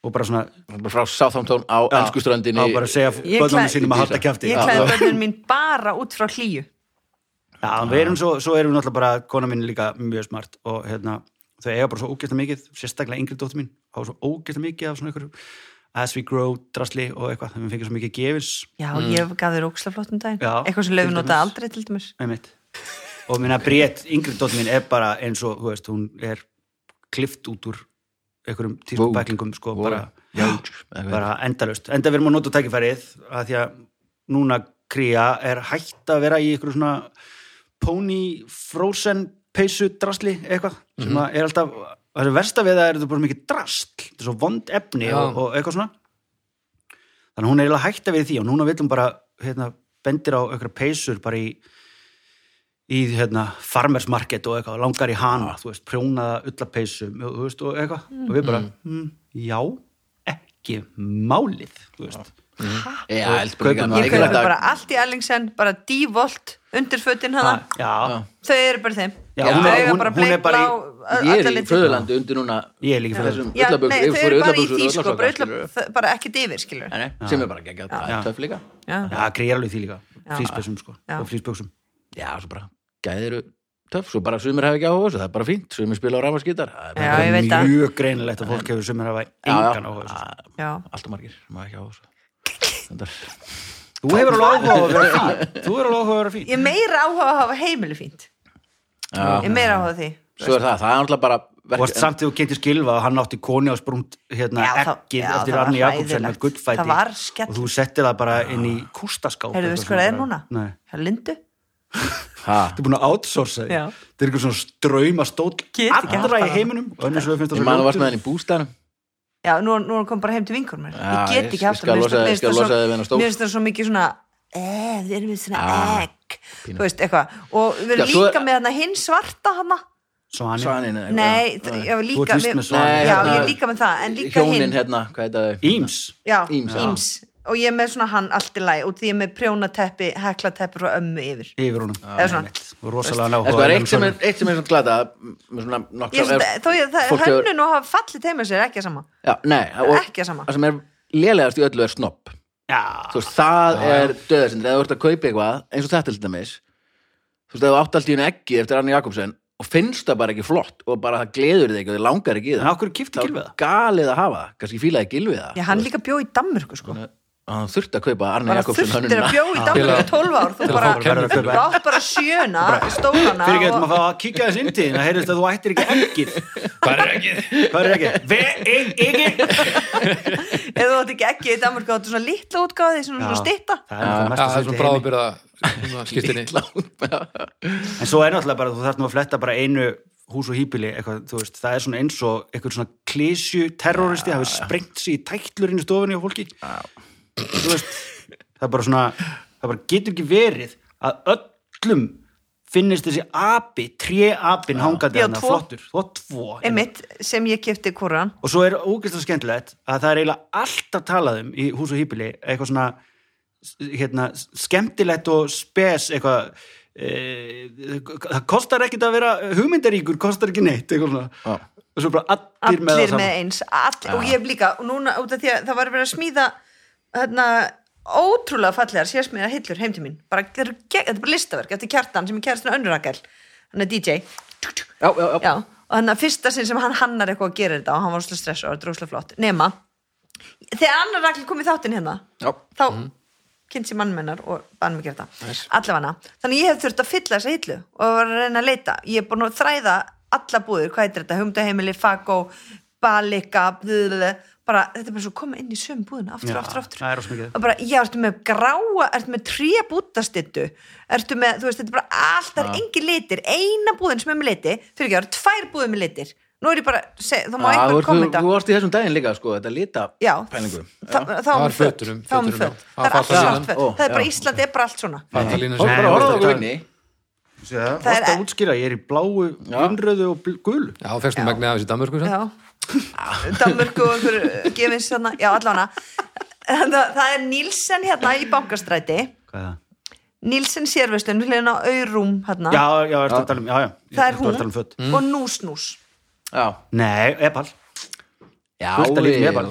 Speaker 3: og bara svona
Speaker 1: Bara frá Southampton á ennsku ströndinni
Speaker 3: á bara að segja
Speaker 4: Ég
Speaker 3: bönnunum
Speaker 4: klæ-
Speaker 3: sínum að halda kjæfti
Speaker 4: Ég klæði börnum mín bara út frá hlýju.
Speaker 3: Já, við erum svo, svo erum við náttúrulega bara, kona mín er líka mjög smart og hérna, þau eiga bara svo ógæsta mikið, sérstaklega yngri dóttir mín, á svo ógæsta mikið af svona ykkur as we grow drasli og eitthvað, þeim við fengið svo mikið gefins,
Speaker 4: Já, ég gaf þér ógslaflott um daginn.
Speaker 3: Mm. Já,
Speaker 4: Eitthvað sem
Speaker 3: til
Speaker 4: löfum nota
Speaker 3: dæmis.
Speaker 4: aldrei til dæmis.
Speaker 3: einmitt. Og minna breytt, yngri dóttir mín er bara eins og, þú veist, hún er klift út úr einhverjum
Speaker 1: Vó.
Speaker 3: tískubæklingum, sko,
Speaker 1: Vó.
Speaker 3: bara,
Speaker 1: Já, eitthvað.
Speaker 3: bara endalaust. Enda við erum að nota tækifærið, að því að núna kría er hætt að vera í einhverju svona pony frozen peysu drasli eitthvað sem að er alltaf það er versta við það er þetta bara mikið drast þetta er svo vond efni
Speaker 2: Já.
Speaker 3: og, og eitthvað svona þannig að hún er eiginlega hætta við því og núna vill hún bara hérna, bendir á einhverja peysur bara í í hérna, farmers market og eitthvað langar í hana, þú veist, prjónaða ullapeysu og, þú veist, og eitthvað og við bara, mm, já, ekki málið, þú veist
Speaker 1: Já, eldur
Speaker 3: Kaupum
Speaker 1: líka
Speaker 3: það.
Speaker 4: Ég
Speaker 1: Ekki
Speaker 4: kaupi
Speaker 1: þetta-
Speaker 4: bara allt í Ellingsen, bara dívolt undir fötin hana.
Speaker 3: já,
Speaker 4: Þau eru bara þeim.
Speaker 3: Já,
Speaker 4: Þau
Speaker 3: hún er-
Speaker 4: eiga
Speaker 3: hún-
Speaker 4: bara
Speaker 3: hún er
Speaker 4: bleik,
Speaker 3: bara
Speaker 4: blá,
Speaker 3: í-
Speaker 1: Ég
Speaker 4: alla
Speaker 1: er í
Speaker 4: liti.
Speaker 1: föðurlandi undir núna
Speaker 3: ég er líka fyrir
Speaker 1: þessum
Speaker 4: Já,
Speaker 1: ullaböksur,
Speaker 4: nei,
Speaker 1: ég
Speaker 4: þau
Speaker 1: fór
Speaker 4: eru bara í
Speaker 1: ullabuxur
Speaker 4: því
Speaker 1: og
Speaker 4: sko,
Speaker 1: ullasokkar,
Speaker 4: bara,
Speaker 1: skilurðu.
Speaker 4: ulla, þ- bara ekki divir, skilur.
Speaker 1: Nei, nei, eh, sem er bara geggjað, það er töff líka
Speaker 4: Já.
Speaker 3: Já, greiðar alveg í því líka,
Speaker 4: Já.
Speaker 3: flýspessum sko
Speaker 4: Já.
Speaker 3: og flýsböksum.
Speaker 1: Já, svo bara, gæðir eru töff Svo bara sumir hafa ekki áhuga á þessu, það er bara fínt Sumir spila á rafmaskítar
Speaker 4: Já, ég veit að,
Speaker 3: Mjög greinilegt að fólk hefur sem er að hafa engan áhuga. á þessu.
Speaker 4: já.
Speaker 1: Alltaf Ah, margir, maður ekki áhuga á þessu Þetta er-
Speaker 3: Þú hefur alveg áhuga á að vera fín. Þú hefur alveg áhuga á að vera fín.
Speaker 4: Ég er meira áhuga að hafa heimili fínt. Ég
Speaker 1: Já,
Speaker 4: er meira áhuga á því.
Speaker 1: svo er það, það er alltaf bara
Speaker 3: Þú varst samt þegar þú getur skilfa að hann átti koni á sprungt hérna
Speaker 4: Já, það-
Speaker 3: ekkið
Speaker 4: já,
Speaker 3: eftir
Speaker 4: það var
Speaker 3: Arni Jakobsen með
Speaker 4: hræðilegt.
Speaker 3: gullfæti
Speaker 4: Það var skell-
Speaker 3: og þú settir það bara inn í kústaskáp.
Speaker 4: Heyrðu,
Speaker 3: eitthvað
Speaker 4: veist hvað það er
Speaker 3: svona bara-
Speaker 4: núna?
Speaker 3: Nei.
Speaker 4: Það er lindu.
Speaker 1: samt
Speaker 3: Þú er búin að outsource þig.
Speaker 4: Já.
Speaker 3: Það er eitthvað svona ströyma stóll
Speaker 4: Get ekki haft
Speaker 3: allra í
Speaker 4: annað.
Speaker 3: heiminum og önnur svo finnst það
Speaker 1: Ég man að varst
Speaker 3: ljótur.
Speaker 1: með henni í bústæðanum
Speaker 4: Já, nú, nú er hann kom bara heim til vinkur mér.
Speaker 1: Já, ég-
Speaker 4: Ég get ekki
Speaker 1: ég
Speaker 4: haft
Speaker 1: skal
Speaker 4: hann.
Speaker 1: losa-
Speaker 4: Mér
Speaker 1: ég skal
Speaker 4: finnst það
Speaker 1: losa
Speaker 4: svo-
Speaker 1: þig við þennan stól.
Speaker 4: Mér finnst það svo mikið svona, eh, við erum við svona
Speaker 1: Já,
Speaker 4: egg. Þú veist, eitthvað. Og við
Speaker 1: Já,
Speaker 4: erum
Speaker 1: svo er-
Speaker 4: líka með hann hinn svarta hann.
Speaker 3: Svani
Speaker 1: Svanin eða
Speaker 4: Nei,
Speaker 1: eitthvað.
Speaker 4: ég
Speaker 3: Þú
Speaker 4: var
Speaker 3: ert
Speaker 4: líka
Speaker 3: víst
Speaker 4: með,
Speaker 3: með svanin.
Speaker 1: Nei,
Speaker 4: já,
Speaker 1: hérna,
Speaker 4: ég er líka með það, en líka
Speaker 1: Hjónin
Speaker 4: hinn,
Speaker 1: hérna, hvað heit það?
Speaker 3: Íms
Speaker 4: já,
Speaker 1: Íms, já.
Speaker 4: íms, og ég er með svona hann allt í læg, og því ég er með prjónateppi, heklateppi og ömmu yfir.
Speaker 3: yfir honum
Speaker 4: Eða svona.
Speaker 3: Einmitt. Og rosalega náhuga
Speaker 1: En sko, það er eitt sem er, eitt sem er svona glata með svona
Speaker 4: Ég,
Speaker 1: nokkra
Speaker 4: er, þó ég, það,
Speaker 1: fólk hefur-
Speaker 4: hönnun og hafa fallið teima sér ekki sama.
Speaker 1: Já, nei, og
Speaker 4: ekki það sama.
Speaker 1: Það sem er lélegast í öllu er snopp Þú
Speaker 3: Já,
Speaker 1: veist, það er döðasindri eða þú ert að kaupa eitthvað, eins og þetta til dæmis Þú veist, ef þú átt allt í henni ekki eftir Anna Jakobsen og finnst það bara ekki flott og bara það gleður þig ekki og þið langar ekki í
Speaker 3: en
Speaker 1: það
Speaker 3: okkur kifti
Speaker 1: þá er
Speaker 3: gilfið það
Speaker 1: galið að hafa það, kannski fílaði gilvið það
Speaker 4: Já, hann líka bjóð í Danmörku, sko.
Speaker 1: Og hann þurfti að kaupa Arna
Speaker 4: Bara
Speaker 1: Jakobsen
Speaker 4: þurftir
Speaker 1: hönnuna
Speaker 4: að bjóð í Danmörku í 12 ár,
Speaker 2: Til
Speaker 4: þú
Speaker 2: að
Speaker 4: bara,
Speaker 2: fá
Speaker 4: þú
Speaker 3: Verður að kaupa.
Speaker 4: átt bara sjöna, stólana
Speaker 3: Fyrir getum
Speaker 4: og
Speaker 3: að fá að kíkja þess inn til þín, það heyrðist að þú ættir ekki ekkið.
Speaker 2: Hvað er ekki?
Speaker 3: Hvað er ekkið? V-E-E-G.
Speaker 4: eða þú átt ekki ekki í Danmörku, þú átt svona litla útgáði, svona, svona stitta.
Speaker 3: Það er náttúrulega
Speaker 2: Já,
Speaker 3: mesta
Speaker 2: það
Speaker 3: sæti
Speaker 2: er
Speaker 3: í
Speaker 2: svona
Speaker 3: heimi.
Speaker 2: bráðbyrða skiptinni.
Speaker 3: En svo er náttúrulega bara, þú þarf nú að fletta bara einu hús og hýpili, eitthvað, þú veist, það er svona eins og eitthvað svona klísju terroristi hafi sprengt sig í tætlur inn í stofunni á fólki. Þú veist, það er bara svona, það bara getur ekki verið að öllum finnist þessi api, tré apin hangandi
Speaker 4: Já,
Speaker 3: þarna,
Speaker 4: tvo.
Speaker 3: flottur, þú átt tvo. einmitt.
Speaker 4: Einmitt, sem ég kefti kúran.
Speaker 3: Og svo er ógeðslega skemmtilegt að það er eiginlega alltaf talað um í hús og hýpili eitthvað svona hérna, skemmtilegt og spes eitthvað e, það kostar ekkit að vera hugmyndaríkur, kostar ekki neitt eitthvað svona og svo bara allir, með það
Speaker 4: allir með
Speaker 3: saman
Speaker 4: eins all, og ég hef líka, og núna út af því að það var verið að smíða hérna, ótrúlega fallegar sérsmíða hillur heim til mín, bara, þetta eru ge- þetta er bara listaverk eftir kjartan sem er kjærstinu önnurakell hann er DJ
Speaker 1: Já, já, já,
Speaker 4: Já, og hann að fyrsta sinn sem hann hannar eitthvað að gera þetta og hann var óslega stressað og þetta er óslega flott nema, þegar annar rakell kom í þáttinn hérna
Speaker 1: já.
Speaker 4: þá
Speaker 1: Mhm.
Speaker 4: mm. kynnsi mannmennar og bann mig að gera það allafana, þannig ég hef þurft að fylla þessa hillu og var að reyna að leita ég er búin að þræða alla búður, hvað heitir þetta humdaheimili, fagó, balika blöðlöðlö, bara, þetta er bara svo að koma inn í söm búðuna, aftur,
Speaker 3: Já,
Speaker 4: aftur, aftur
Speaker 3: það er rosa mikið.
Speaker 4: og bara, já, ertu með gráa ertu með tré búttastittu ertu með, þú veist, þetta er bara allt það er engin litir, eina búðin sem er með liti fyrir ekki, það eru tvær búðin með litir nú er ég bara, seg, þá má
Speaker 1: Já, þú
Speaker 4: einhver
Speaker 1: ert- þú-
Speaker 4: kommenta
Speaker 1: Þú varst í þessum daginn líka, sko, þetta lita
Speaker 4: já,
Speaker 1: pælingu
Speaker 4: Þa- þá
Speaker 2: Það
Speaker 4: er
Speaker 2: var
Speaker 4: hún föt
Speaker 2: fötunum,
Speaker 4: þá er hún
Speaker 2: fötunum,
Speaker 4: föt,
Speaker 2: já. Á,
Speaker 4: það er allt
Speaker 2: fattalínan.
Speaker 4: svart föt
Speaker 1: Ó,
Speaker 4: það er bara
Speaker 1: já.
Speaker 4: Ísland, er bara allt svona
Speaker 2: Fattalínu
Speaker 1: Þú
Speaker 2: sem
Speaker 1: ert
Speaker 3: Nei,
Speaker 1: bara að horfa á
Speaker 3: þetta
Speaker 1: okkur
Speaker 3: er-
Speaker 1: inni
Speaker 3: það
Speaker 4: Það er-
Speaker 3: er að útskýra, ég er í bláu, vinnröðu og bl- gulu
Speaker 2: Já, fegst nú megnið af þessi Danmörku sem.
Speaker 4: já Danmörku og einhver uh, gefins hérna, já allána það, það er Nílsen hérna í bankastræti
Speaker 3: hvað er það?
Speaker 4: Nílsen sérvöslun, við hljóðum á Aurum hérna,
Speaker 3: Já, já, ertu að tala um, já, já, ég-
Speaker 4: það er
Speaker 3: ertu að tala um föt.
Speaker 4: hún og Nús Nús
Speaker 1: Já,
Speaker 3: Nei, epal,
Speaker 1: já,
Speaker 3: Þú ert að líta
Speaker 1: við-
Speaker 3: með bara.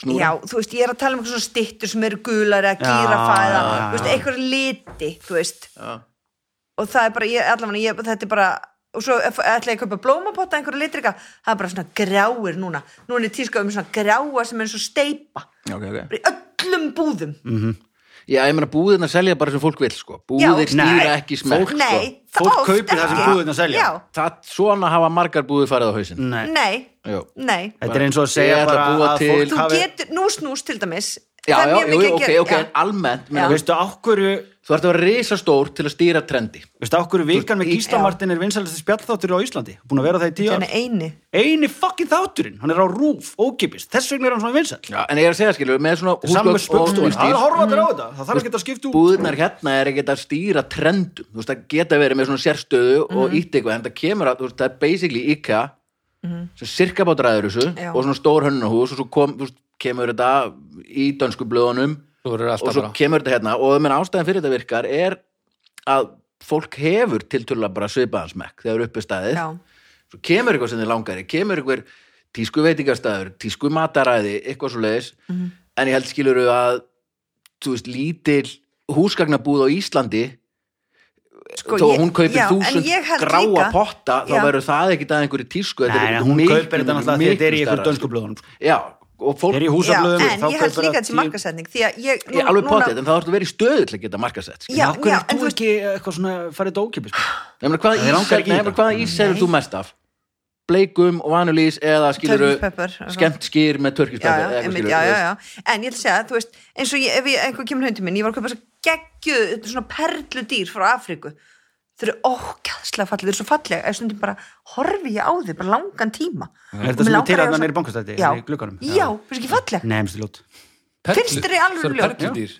Speaker 1: Snúra.
Speaker 4: Já, þú veist, ég er að tala um eitthvað svona stittur sem eru gular eða
Speaker 3: Já,
Speaker 4: gírafa eða,
Speaker 3: já, já,
Speaker 4: þú veist,
Speaker 3: já.
Speaker 4: einhver liti, þú veist
Speaker 1: Já.
Speaker 4: og það er bara, ég, allavega, ég, þetta er bara og svo ef- ætla ég að kaupa blómapotta einhverja litrika, það er bara svona gráir núna núna er tíska um svona gráa sem er eins og steipa,
Speaker 1: Já, ok, ok
Speaker 4: bara í öllum búðum
Speaker 1: Mm. Já, ég meina búðirna selja bara sem fólk vil sko Búðir
Speaker 4: Já,
Speaker 1: stýra
Speaker 4: nei.
Speaker 1: ekki smekk sko.
Speaker 4: Nei, það
Speaker 3: Fólk
Speaker 4: oft
Speaker 3: kaupir það sem
Speaker 4: ekki.
Speaker 3: búðirnar selja.
Speaker 4: Já,
Speaker 1: Það, svona hafa margar búðir farið á hausinn
Speaker 3: nei
Speaker 4: nei,
Speaker 1: Jú.
Speaker 4: nei
Speaker 3: þetta er eins og að
Speaker 1: Ég
Speaker 3: segja
Speaker 1: ætla að
Speaker 3: bara
Speaker 1: búa
Speaker 3: að
Speaker 1: til-
Speaker 3: fólk
Speaker 4: Þú
Speaker 3: hafi
Speaker 4: getur, nús nús til dæmis
Speaker 1: Já,
Speaker 4: það er
Speaker 1: já,
Speaker 4: mjög
Speaker 1: jú,
Speaker 4: mikið að
Speaker 1: ok,
Speaker 4: gera-
Speaker 1: ok,
Speaker 4: já.
Speaker 1: en almennt meina,
Speaker 4: Já.
Speaker 1: veist,
Speaker 3: veistu, á hverju
Speaker 1: Þú ert að vera risastór til að stýra trendi
Speaker 3: veistu, á hverju vikan með
Speaker 1: í-
Speaker 4: Já.
Speaker 3: Gísla Martin er vinsælisti spjallþáttur á Íslandi búin að vera það í tíu
Speaker 4: Þannig
Speaker 3: ár
Speaker 4: eini
Speaker 3: eini fucking þátturinn, hann er á rúf, ókipist þess vegna er hann svona vinsæll
Speaker 1: Já, en ég er að segja skilur, með svona
Speaker 3: saman með
Speaker 1: húsgögn og
Speaker 3: spöngstúin, það
Speaker 1: húsdýr,
Speaker 3: er að horfa allir
Speaker 4: Mm.
Speaker 3: á þetta það þarf ekki að skipta um- út
Speaker 1: Búðirnar hérna er ekki að stýra trendum Þú veist, það geta verið með svona sérstöðu og ítt eitthvað, en það kemur að, þú veist, það er basically IKEA sem sirka bát ræður þessu
Speaker 4: Já.
Speaker 1: og svona stór hönnunahús og svo kom, þú veist, kemur þetta í dönsku blöðunum
Speaker 2: Þú verður
Speaker 1: og
Speaker 2: alltaf
Speaker 1: svo
Speaker 2: bara.
Speaker 1: kemur þetta hérna og menn ástæðan fyrir þetta virkar er að fólk hefur tiltölulega bara svipaðan smekk þegar uppi staðið
Speaker 4: Já,
Speaker 1: svo kemur eitthvað sem þið langari kemur eitthvað tísku veitingastæður tísku mataræði, eitthvað svo leiðis
Speaker 4: Mhm.
Speaker 1: en ég held skiluru að þú veist, lítil húsgagnabúð á Íslandi
Speaker 4: sko,
Speaker 1: þó að
Speaker 4: ég-
Speaker 1: hún kaupir
Speaker 4: já, en
Speaker 1: þúsund
Speaker 4: ég held
Speaker 1: gráa
Speaker 4: líka-
Speaker 1: potta þá
Speaker 4: Já.
Speaker 1: verður það ekkit að einhverju tísku þetta er
Speaker 3: Nei,
Speaker 1: ekkit
Speaker 3: hún
Speaker 1: miklu,
Speaker 3: kaupir þetta náttúrulega
Speaker 1: miklu,
Speaker 3: því að þetta er í
Speaker 1: miklu
Speaker 3: einhverjum
Speaker 1: stærra.
Speaker 3: dönsku blöðunum sko.
Speaker 1: já, og fólk
Speaker 3: er í
Speaker 4: Já,
Speaker 3: húsablöðum
Speaker 4: en ég held líka þetta sem markasetning því að ég,
Speaker 1: ég, alveg potið, en það ertu verið í stöðu til að geta sko. markasett
Speaker 4: Já,
Speaker 3: já, af hverju
Speaker 4: já, en
Speaker 3: ert
Speaker 4: þú
Speaker 3: þú
Speaker 4: veist-
Speaker 3: ekki eh, eitthvað svona farið þetta ókipist
Speaker 1: Nefnir, hvaða
Speaker 3: Það
Speaker 1: ís,
Speaker 3: langar
Speaker 1: er,
Speaker 3: ekki í
Speaker 1: nefnir,
Speaker 3: þetta.
Speaker 1: hvaða ís selur þú mest af? Bleikum og vanulís eða skilur
Speaker 4: Turkish pepper, eitthvað.
Speaker 1: skemmt skýr með
Speaker 4: já,
Speaker 1: törkispepper
Speaker 4: já, einmitt, já, já, já. en ég ætla að segja, þú veist eins og ég, ef ég, einhver kemur hundi minn ég var að kaupa svo geggju, svona perlu dýr frá Afríku þau eru ógæðslega falleg, þau eru svo falleg eða stundum bara horfi ég á þau, bara langan tíma
Speaker 3: Er þetta sem þú til að það er í bankastæti
Speaker 4: já,
Speaker 3: í glugganum?
Speaker 4: já, finnst ekki falleg
Speaker 3: Nei, minnst þið ljót
Speaker 2: Perlu-
Speaker 4: finnst þér í
Speaker 2: það
Speaker 4: alvöru
Speaker 2: eru
Speaker 4: ljót?
Speaker 2: perludýr.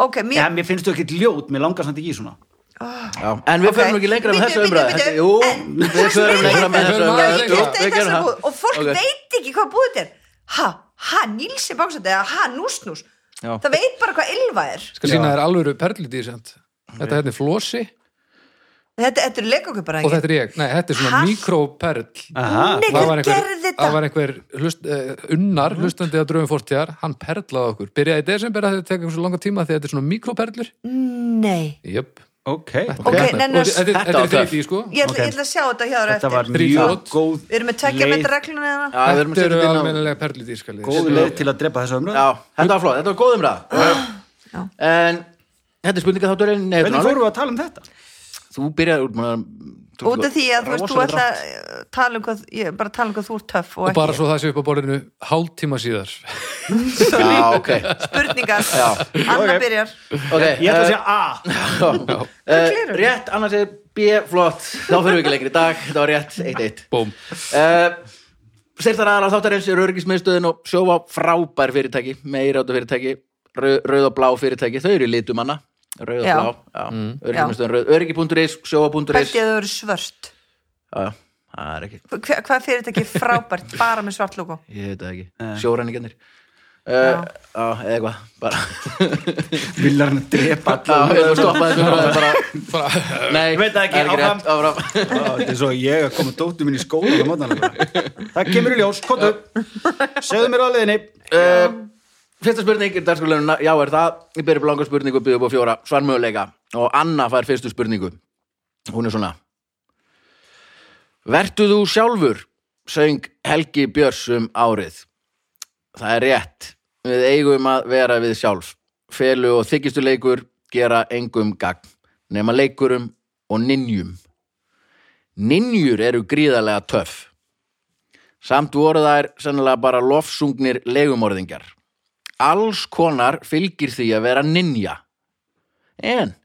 Speaker 4: ok,
Speaker 3: Já,
Speaker 4: mér,
Speaker 3: mér finnst þú ekkit ljót, mér langar samt ekki í svona
Speaker 1: Já, en við
Speaker 4: Ok.
Speaker 1: förum ekki lengra með
Speaker 4: Bíddu,
Speaker 1: þessa
Speaker 4: bíddu,
Speaker 1: umræðu
Speaker 4: bíddu.
Speaker 1: Þetta- Jú, við förum lengra með
Speaker 2: Við
Speaker 1: þessa
Speaker 2: förum aðeins
Speaker 1: umræðu
Speaker 2: lengra.
Speaker 1: Jú,
Speaker 4: Þetta
Speaker 1: við
Speaker 4: er
Speaker 1: gerum
Speaker 4: þessa
Speaker 1: það.
Speaker 4: búð og fólk
Speaker 1: Ok.
Speaker 4: veit ekki hvað búið þetta er ha, ha, Nílsi báksandi eða ha, núsnús
Speaker 1: Já.
Speaker 4: það veit bara hvað Ylva er
Speaker 2: skal sína þér alvöru perludýr samt. þetta hérna er flosi
Speaker 4: þetta, þetta er leikokupar
Speaker 2: og þetta er ég, nei, þetta er svona
Speaker 4: Hall.
Speaker 2: mikroperl
Speaker 3: Aha.
Speaker 4: Nei,
Speaker 2: það
Speaker 4: hver
Speaker 2: var einhver,
Speaker 4: gerði þetta? Mhm.
Speaker 2: það var einhver hlust, uh, unnar hlustandi að draugum fórtíðar hann perlaði okkur, byrjaði í desember að þetta tekur svo langa tíma því að þetta er svona mikroperlur
Speaker 4: nei
Speaker 2: jöp
Speaker 3: ok,
Speaker 4: Ok, nei, nei,
Speaker 2: þetta er- þetta
Speaker 1: þetta
Speaker 2: er
Speaker 1: var töff.
Speaker 2: þriði sko
Speaker 4: ég ætla,
Speaker 3: Ok.
Speaker 4: ég ætla að sjá þetta hjá þér
Speaker 3: þetta
Speaker 4: eftir
Speaker 3: var mjög
Speaker 2: Þrjú.
Speaker 3: góð
Speaker 4: við erum með tekja
Speaker 3: leið-
Speaker 4: með regluna hérna.
Speaker 1: Já, við erum að
Speaker 2: þetta
Speaker 1: setja
Speaker 2: eru
Speaker 1: þetta inn á-
Speaker 2: almennilega perludýr skal ég
Speaker 3: góð leið til að drepa þessa umröð
Speaker 1: Já, þetta var flott, þetta var góð
Speaker 4: Ah. Já.
Speaker 1: umræða En þetta er spurninga þátturinn Nei, þetta er
Speaker 3: hvernig
Speaker 1: alveg-
Speaker 3: fórum við að tala um þetta?
Speaker 1: þú byrjar úr
Speaker 4: út af því að þú veist, þú ætla
Speaker 1: að
Speaker 4: að eh, tala um hvað, ég, bara tala um hvað þú ert töff og,
Speaker 2: og bara
Speaker 4: ekki
Speaker 2: svo það sé upp á borðinu hálftíma síðar
Speaker 1: Já, ok,
Speaker 4: spurningar,
Speaker 1: Já.
Speaker 4: Anna
Speaker 3: Ok.
Speaker 4: byrjar
Speaker 1: ok
Speaker 3: ég ætla að segja A
Speaker 1: segja
Speaker 4: Þú klirur.
Speaker 1: Rétt, annars er B, flott Þá fyrir við ekki lengri í dag, þetta var rétt, 1-1
Speaker 2: búm,
Speaker 1: uh, Seirtar aðra þáttarins er örgismiðstöðin og sjófa frábær fyrirtæki meiráttu fyrirtæki, rau- rauð og blá fyrirtæki þau eru í litum hana rauð og
Speaker 4: Já.
Speaker 1: blá, já,
Speaker 3: Mm.
Speaker 1: örgismiðstöðin rauð örgi.is, sjófa.is
Speaker 4: hvert ég að þau eru svört
Speaker 1: Já, já, það er ekki,
Speaker 4: Hva, hvað fyrir þetta ekki frábært bara með svart logo
Speaker 1: ég veit það ekki
Speaker 3: Nei.
Speaker 1: sjóræningarnir uh,
Speaker 4: Já.
Speaker 1: já, eða eitthvað, bara
Speaker 3: villar hann að drepa
Speaker 1: Já,
Speaker 3: allar
Speaker 1: við erum að stoppa þessu umræðu bara
Speaker 2: bara
Speaker 1: Nei,
Speaker 3: Ég veit það ekki,
Speaker 1: er
Speaker 3: áfram.
Speaker 1: rétt, áfram.
Speaker 3: þetta er svo ég að koma dóttu mín í skóla á morgnana. það kemur í ljós, kottu segðu mér á leiðinni
Speaker 1: uh, Fyrsta spurning er dagskurleguna, já er það, ég byrja upp langa spurningu og byrja upp á fjóra svarmöguleika og Anna fær fyrstu spurningu. Hún er svona. Vertu þú sjálfur, söng Helgi Björns um árið. Það er rétt, við eigum að vera við sjálf. Felu og þykistu leikur gera engum gagn, nema leikurum og ninjum. Ninjur eru gríðarlega töff. Samt voru þær sennilega bara lofsungnir legumorðingjar. Alls konar fylgir því að vera ninja. En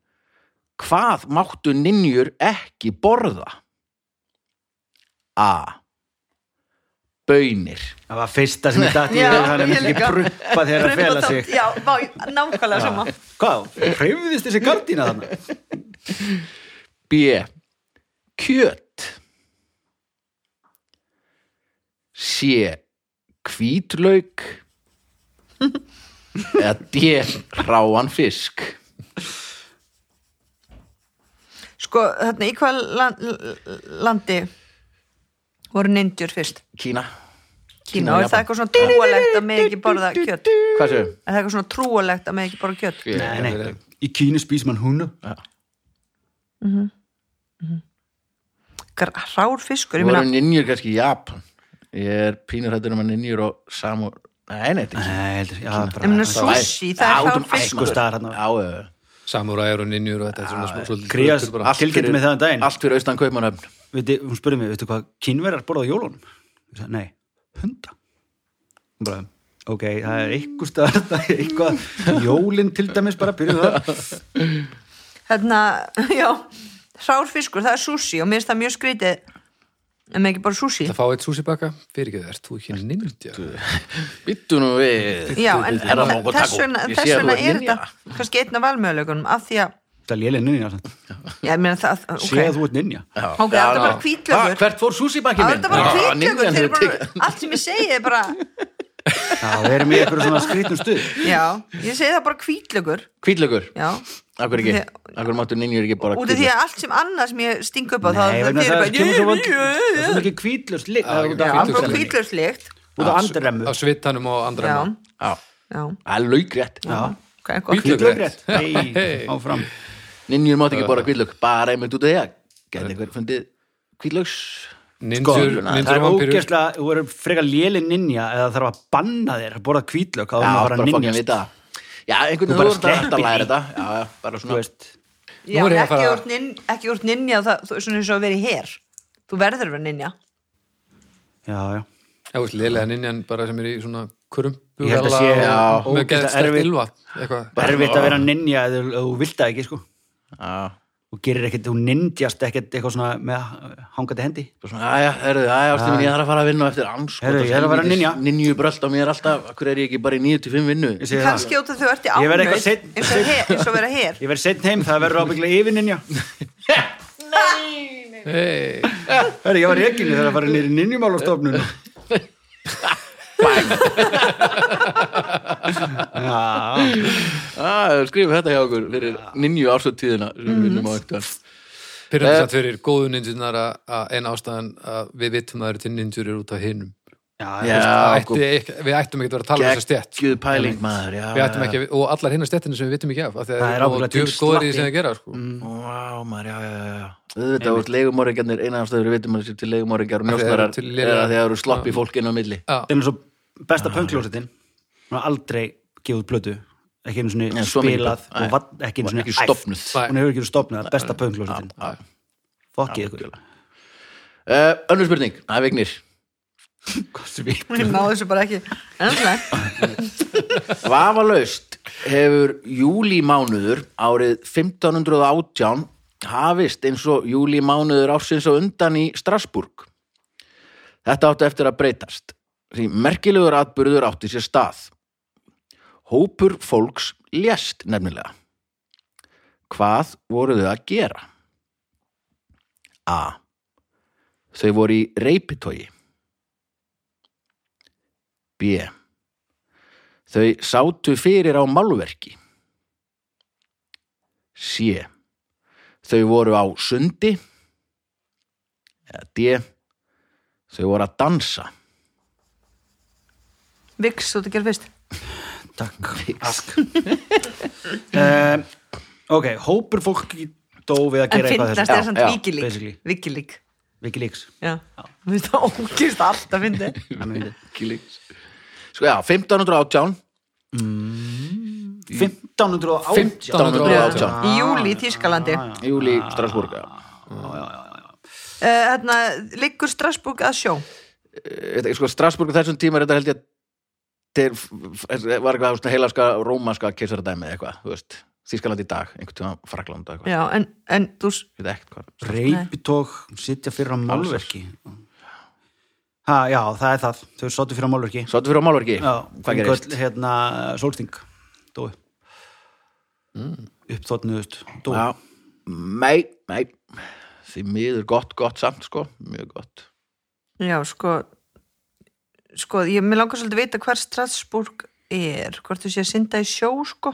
Speaker 1: hvað máttu ninjur ekki borða? A. Bönir.
Speaker 3: það var fyrsta sem ég dætti
Speaker 4: Já,
Speaker 3: þannig að
Speaker 4: ég
Speaker 3: mér ekki
Speaker 4: líka.
Speaker 3: pruppa þegar að fela sig
Speaker 4: já, má, nákvæmlega sama
Speaker 3: Hvað, hreyfðist þessi gardína þarna?
Speaker 1: B. Kjöt. C. Hvítlauk. Eða D. Ráan fisk.
Speaker 4: sko, þarna, í hvað lan, landi voru nindjur fyrst
Speaker 1: Kína.
Speaker 4: Kína, og er
Speaker 1: Japan.
Speaker 4: það eitthvað svona trúalegt að með ekki borða kjött er
Speaker 1: Hvað séu?
Speaker 4: það eitthvað svona trúalegt að með ekki borða kjött
Speaker 3: Nei, nei, í Kínu spís mann húnu
Speaker 4: Gr- hrár fiskur, ég
Speaker 1: Þú voru
Speaker 4: meina
Speaker 1: ninjur kannski í Japan Ég er pínur hættur um að ninjur og samur Nei, nei, þetta er
Speaker 3: Nei, heldur, já,
Speaker 4: ég meina
Speaker 3: bara
Speaker 4: sushi, það er hrár fiskur
Speaker 3: sko staðar þarna.
Speaker 1: Já, já, já.
Speaker 2: samúræður og ninjur og þetta er svona smá- svolítið
Speaker 3: Krías-
Speaker 2: svolítið bara.
Speaker 1: Allt
Speaker 3: Tilkynntu
Speaker 1: fyrir-
Speaker 3: mig það um daginn.
Speaker 1: Allt fyrir austan kaupmannöfn
Speaker 3: Viti, hún spurði mig, veitu hvað kínverjar borða á jólunum? Ég sagði, nei, hunda Hún bara, ok, það er eitthvað staðar það er eitthvað jólin til dæmis bara, byrjuðu það
Speaker 4: hérna, já hrár fiskur, það er sushi og mér finnst það mjög skrítið en með ekki borða sushi
Speaker 2: að fá eitt súsibaka, fyrir ekki það, ert þú ekki ninja
Speaker 1: Vittu nú við
Speaker 4: já, en,
Speaker 1: Er það
Speaker 4: en
Speaker 1: mongo
Speaker 4: þess
Speaker 1: taco?
Speaker 4: vegna,
Speaker 1: Ég sé að
Speaker 4: þess
Speaker 1: þú
Speaker 4: vegna
Speaker 1: ert
Speaker 4: er
Speaker 1: ninja.
Speaker 4: þetta kannski einn af valmöðuleikunum af því að,
Speaker 3: Það er lélinn ninja samt.
Speaker 4: já, ég meina það ok,
Speaker 3: Sé að þú ert ninja
Speaker 1: Já.
Speaker 4: Ok, þetta er
Speaker 1: Já,
Speaker 4: bara
Speaker 1: já.
Speaker 4: hvítlaukur.
Speaker 1: Ha, Hvert fór sushi-bakki
Speaker 4: það
Speaker 1: minn?
Speaker 4: er þetta bara
Speaker 1: Já, ninjan hefur
Speaker 4: kvítlegur
Speaker 1: tekið-
Speaker 4: allt sem ég segi er bara
Speaker 3: Já, við erum í eitthvað svona skrítum stuð
Speaker 4: já, ég segi það bara kvítlegur
Speaker 1: Hvítlaugur
Speaker 4: já,
Speaker 1: Akkur ekki
Speaker 4: Því-
Speaker 1: Akkur máttu ninjur ekki bara
Speaker 4: út af því að allt sem annað sem ég sting upp á það
Speaker 3: Nei,
Speaker 4: það
Speaker 3: vegna
Speaker 4: þið
Speaker 3: það
Speaker 4: eru
Speaker 3: er kemur svo
Speaker 4: bara
Speaker 3: vond Það
Speaker 4: jú, jú,
Speaker 3: er
Speaker 4: jú,
Speaker 3: svo mikið kvítlust lit Það er út af
Speaker 4: jú. já, bara
Speaker 3: kvítlust lit,
Speaker 4: kvítlegslikt
Speaker 3: út af andarremmu
Speaker 2: á svitanum og
Speaker 4: já,
Speaker 2: andra
Speaker 1: Já,
Speaker 4: já,
Speaker 1: það er laugrétt
Speaker 3: Já,
Speaker 4: ok, gott
Speaker 3: kvítlugrétt
Speaker 2: Hvítlaugrétt.
Speaker 3: Nei, áfram
Speaker 1: Ninjur máttu ekki bara hvítlaug Bara einmitt út af því að Gæti einhver fundið hvítlaugs
Speaker 2: ninjur,
Speaker 1: Sko,
Speaker 2: ninjur
Speaker 3: Það er
Speaker 2: og vampýrur
Speaker 3: ógeðslega, þú eru frekar lélinn ninja eða þarf að banna þér að borða kvítlök á
Speaker 1: Já,
Speaker 3: því að fara
Speaker 1: bara
Speaker 3: að
Speaker 1: fokkin
Speaker 3: ninja
Speaker 1: vita Já, einhvern
Speaker 3: Þú
Speaker 1: veginn
Speaker 3: bara
Speaker 1: þú ert að- ert
Speaker 3: sleppir
Speaker 1: að læra
Speaker 3: því.
Speaker 1: þetta Já, já, bara
Speaker 3: Þú
Speaker 1: svona
Speaker 3: veist,
Speaker 4: já,
Speaker 2: Nú er ég að
Speaker 4: en ekki
Speaker 2: fara-
Speaker 4: úr nin- ekki úr ninja það, þú, svona eins og að vera í her þú verður að vera ninja
Speaker 3: já, já
Speaker 2: Já, veist, lélega ninjan bara sem er í svona krumpu
Speaker 3: Ég held að sé, já,
Speaker 2: og með
Speaker 3: ógeðslega
Speaker 2: geðstætt
Speaker 3: erfitt.
Speaker 2: ylva eitthvað
Speaker 3: Erfitt að vera ninja eða eða þú vilt það ekki, sko
Speaker 1: Já,
Speaker 3: og gerir ekkert, hún nindjast ekkert eitthvað svona með hangandi hendi
Speaker 1: Bara svona, Æja, herðu, æja, ástin mín, ég þarf að fara að vinna á eftir anskotans
Speaker 3: Heyrðu, ég er að vera ninja.
Speaker 1: Ninju brölt á mér alltaf, hver er ég ekki bara í 9-5 vinnu?
Speaker 3: Ég segi það.
Speaker 4: kannski út af því að þú ert í
Speaker 3: Ég verð
Speaker 4: ánöð
Speaker 3: eitthvað
Speaker 4: eins
Speaker 3: seinn-
Speaker 4: og her- eins og vera hér
Speaker 3: Ég verð seitt heim, það verður ábygglega yfirninja
Speaker 2: Hey.
Speaker 3: Hörru, ég var reikinu þegar að fara nýri ninjumálastofnun Já,
Speaker 1: Ah, skrifum þetta hjá okkur fyrir Ninju ársöldtíðina sem við vinnum á eftir
Speaker 2: Pyrrandi satt fyrir góðu ninjunar að eina ástæðan að við vitum að það eru til ninjur er út af hinnum.
Speaker 3: já, sko.
Speaker 1: Já,
Speaker 2: Ætti, ekki- við ættum ekki að vera að tala um þessa stjætt.
Speaker 1: geggjuð pæling maður já,
Speaker 2: Við ættum ekki, að- og allar hinnar stjættinni sem við vitum ekki af. af því að
Speaker 3: Það er
Speaker 2: þeir eru
Speaker 3: ábyggilega
Speaker 2: djöfull
Speaker 3: til
Speaker 2: góðir í því sem
Speaker 3: slatti.
Speaker 2: það gera, sko. Mm.
Speaker 1: Vá, maður, já, já, já, já. Þetta voru leigumorðingjarnir eina ástæður við vitum að þessi til leigumorðingjar og
Speaker 2: Af því þeir eru
Speaker 1: njósnarar
Speaker 2: til
Speaker 1: er
Speaker 2: lélega-
Speaker 1: að þeir eru sloppi fólk inn á milli.
Speaker 3: það er eins og besta pöngljósetin hún har aldrei gefið út plötu ekki einu
Speaker 1: Nei,
Speaker 3: svona
Speaker 1: svo mikið
Speaker 3: spilað
Speaker 1: plötu. Nei.
Speaker 3: og var, ekki einu svona
Speaker 1: Ekki
Speaker 3: æft.
Speaker 1: stofnuð.
Speaker 3: hún hefur ekki stopnað, besta pöngljósetin
Speaker 1: Já.
Speaker 3: fokkið ykkur
Speaker 1: Uh, önnur spurning, það er vignir.
Speaker 4: ég náðu þessu bara ekki ennlega
Speaker 1: Vafalaust hefur júlímánuður árið 1518 hafist eins og júlímánuður ársins og undan í Strasburg. Þetta átti eftir að breytast. Því merkilegur atbyrður átti sér stað. Hópur fólks lést nefnilega. Hvað voru þau að gera? A. Þau voru í reypitói. B. Þau sátu fyrir á málverki. C. Þau voru á sundi. Eða D. Þau voru að dansa.
Speaker 4: Vix, þú ert að gera fyrst
Speaker 3: takk Ask. Eh, ok, hópur fólk dó við að
Speaker 4: en
Speaker 3: gera eitthvað
Speaker 4: finnast er
Speaker 1: Já,
Speaker 4: samt
Speaker 1: já,
Speaker 3: basically.
Speaker 4: vikilík vikilík,
Speaker 3: Wikileaks
Speaker 4: já Mér finnst það ógist alltaf fyndi
Speaker 1: Kýlings. Sko já, 1518.
Speaker 3: 1518
Speaker 1: 1518.
Speaker 4: í júli í Tískalandi
Speaker 3: Ah,
Speaker 1: Júli Strasburg. já.
Speaker 4: hérna, liggur Strasbourg að sjó
Speaker 1: Þetta- Sko, Strasburg á þessum tíma er þetta held ég að þeir var eitthvað svona heilaska rómaska keisaradæmi eða eitthvað, þú veist. Þískaland í dag, einhvern tíma Frakland og eitthvað.
Speaker 4: já, en, en þú s-
Speaker 1: Ég veit ekkert hvað.
Speaker 3: reypitók, sitja fyrir á málverki ha, já, það er það þau sátu fyrir á málverki
Speaker 1: Sáttu fyrir á málverki.
Speaker 3: já,
Speaker 1: hvað
Speaker 3: fengu
Speaker 1: gerist?
Speaker 3: öll, hérna, sólsting dói mm. uppþotnuðust, dói
Speaker 1: Já, nei, nei því miður gott, gott samt sko mjög gott
Speaker 4: já, sko sko, ég mér langar svolítið að vita hver Strasbourg er hvort þú sé að synda í sjó, sko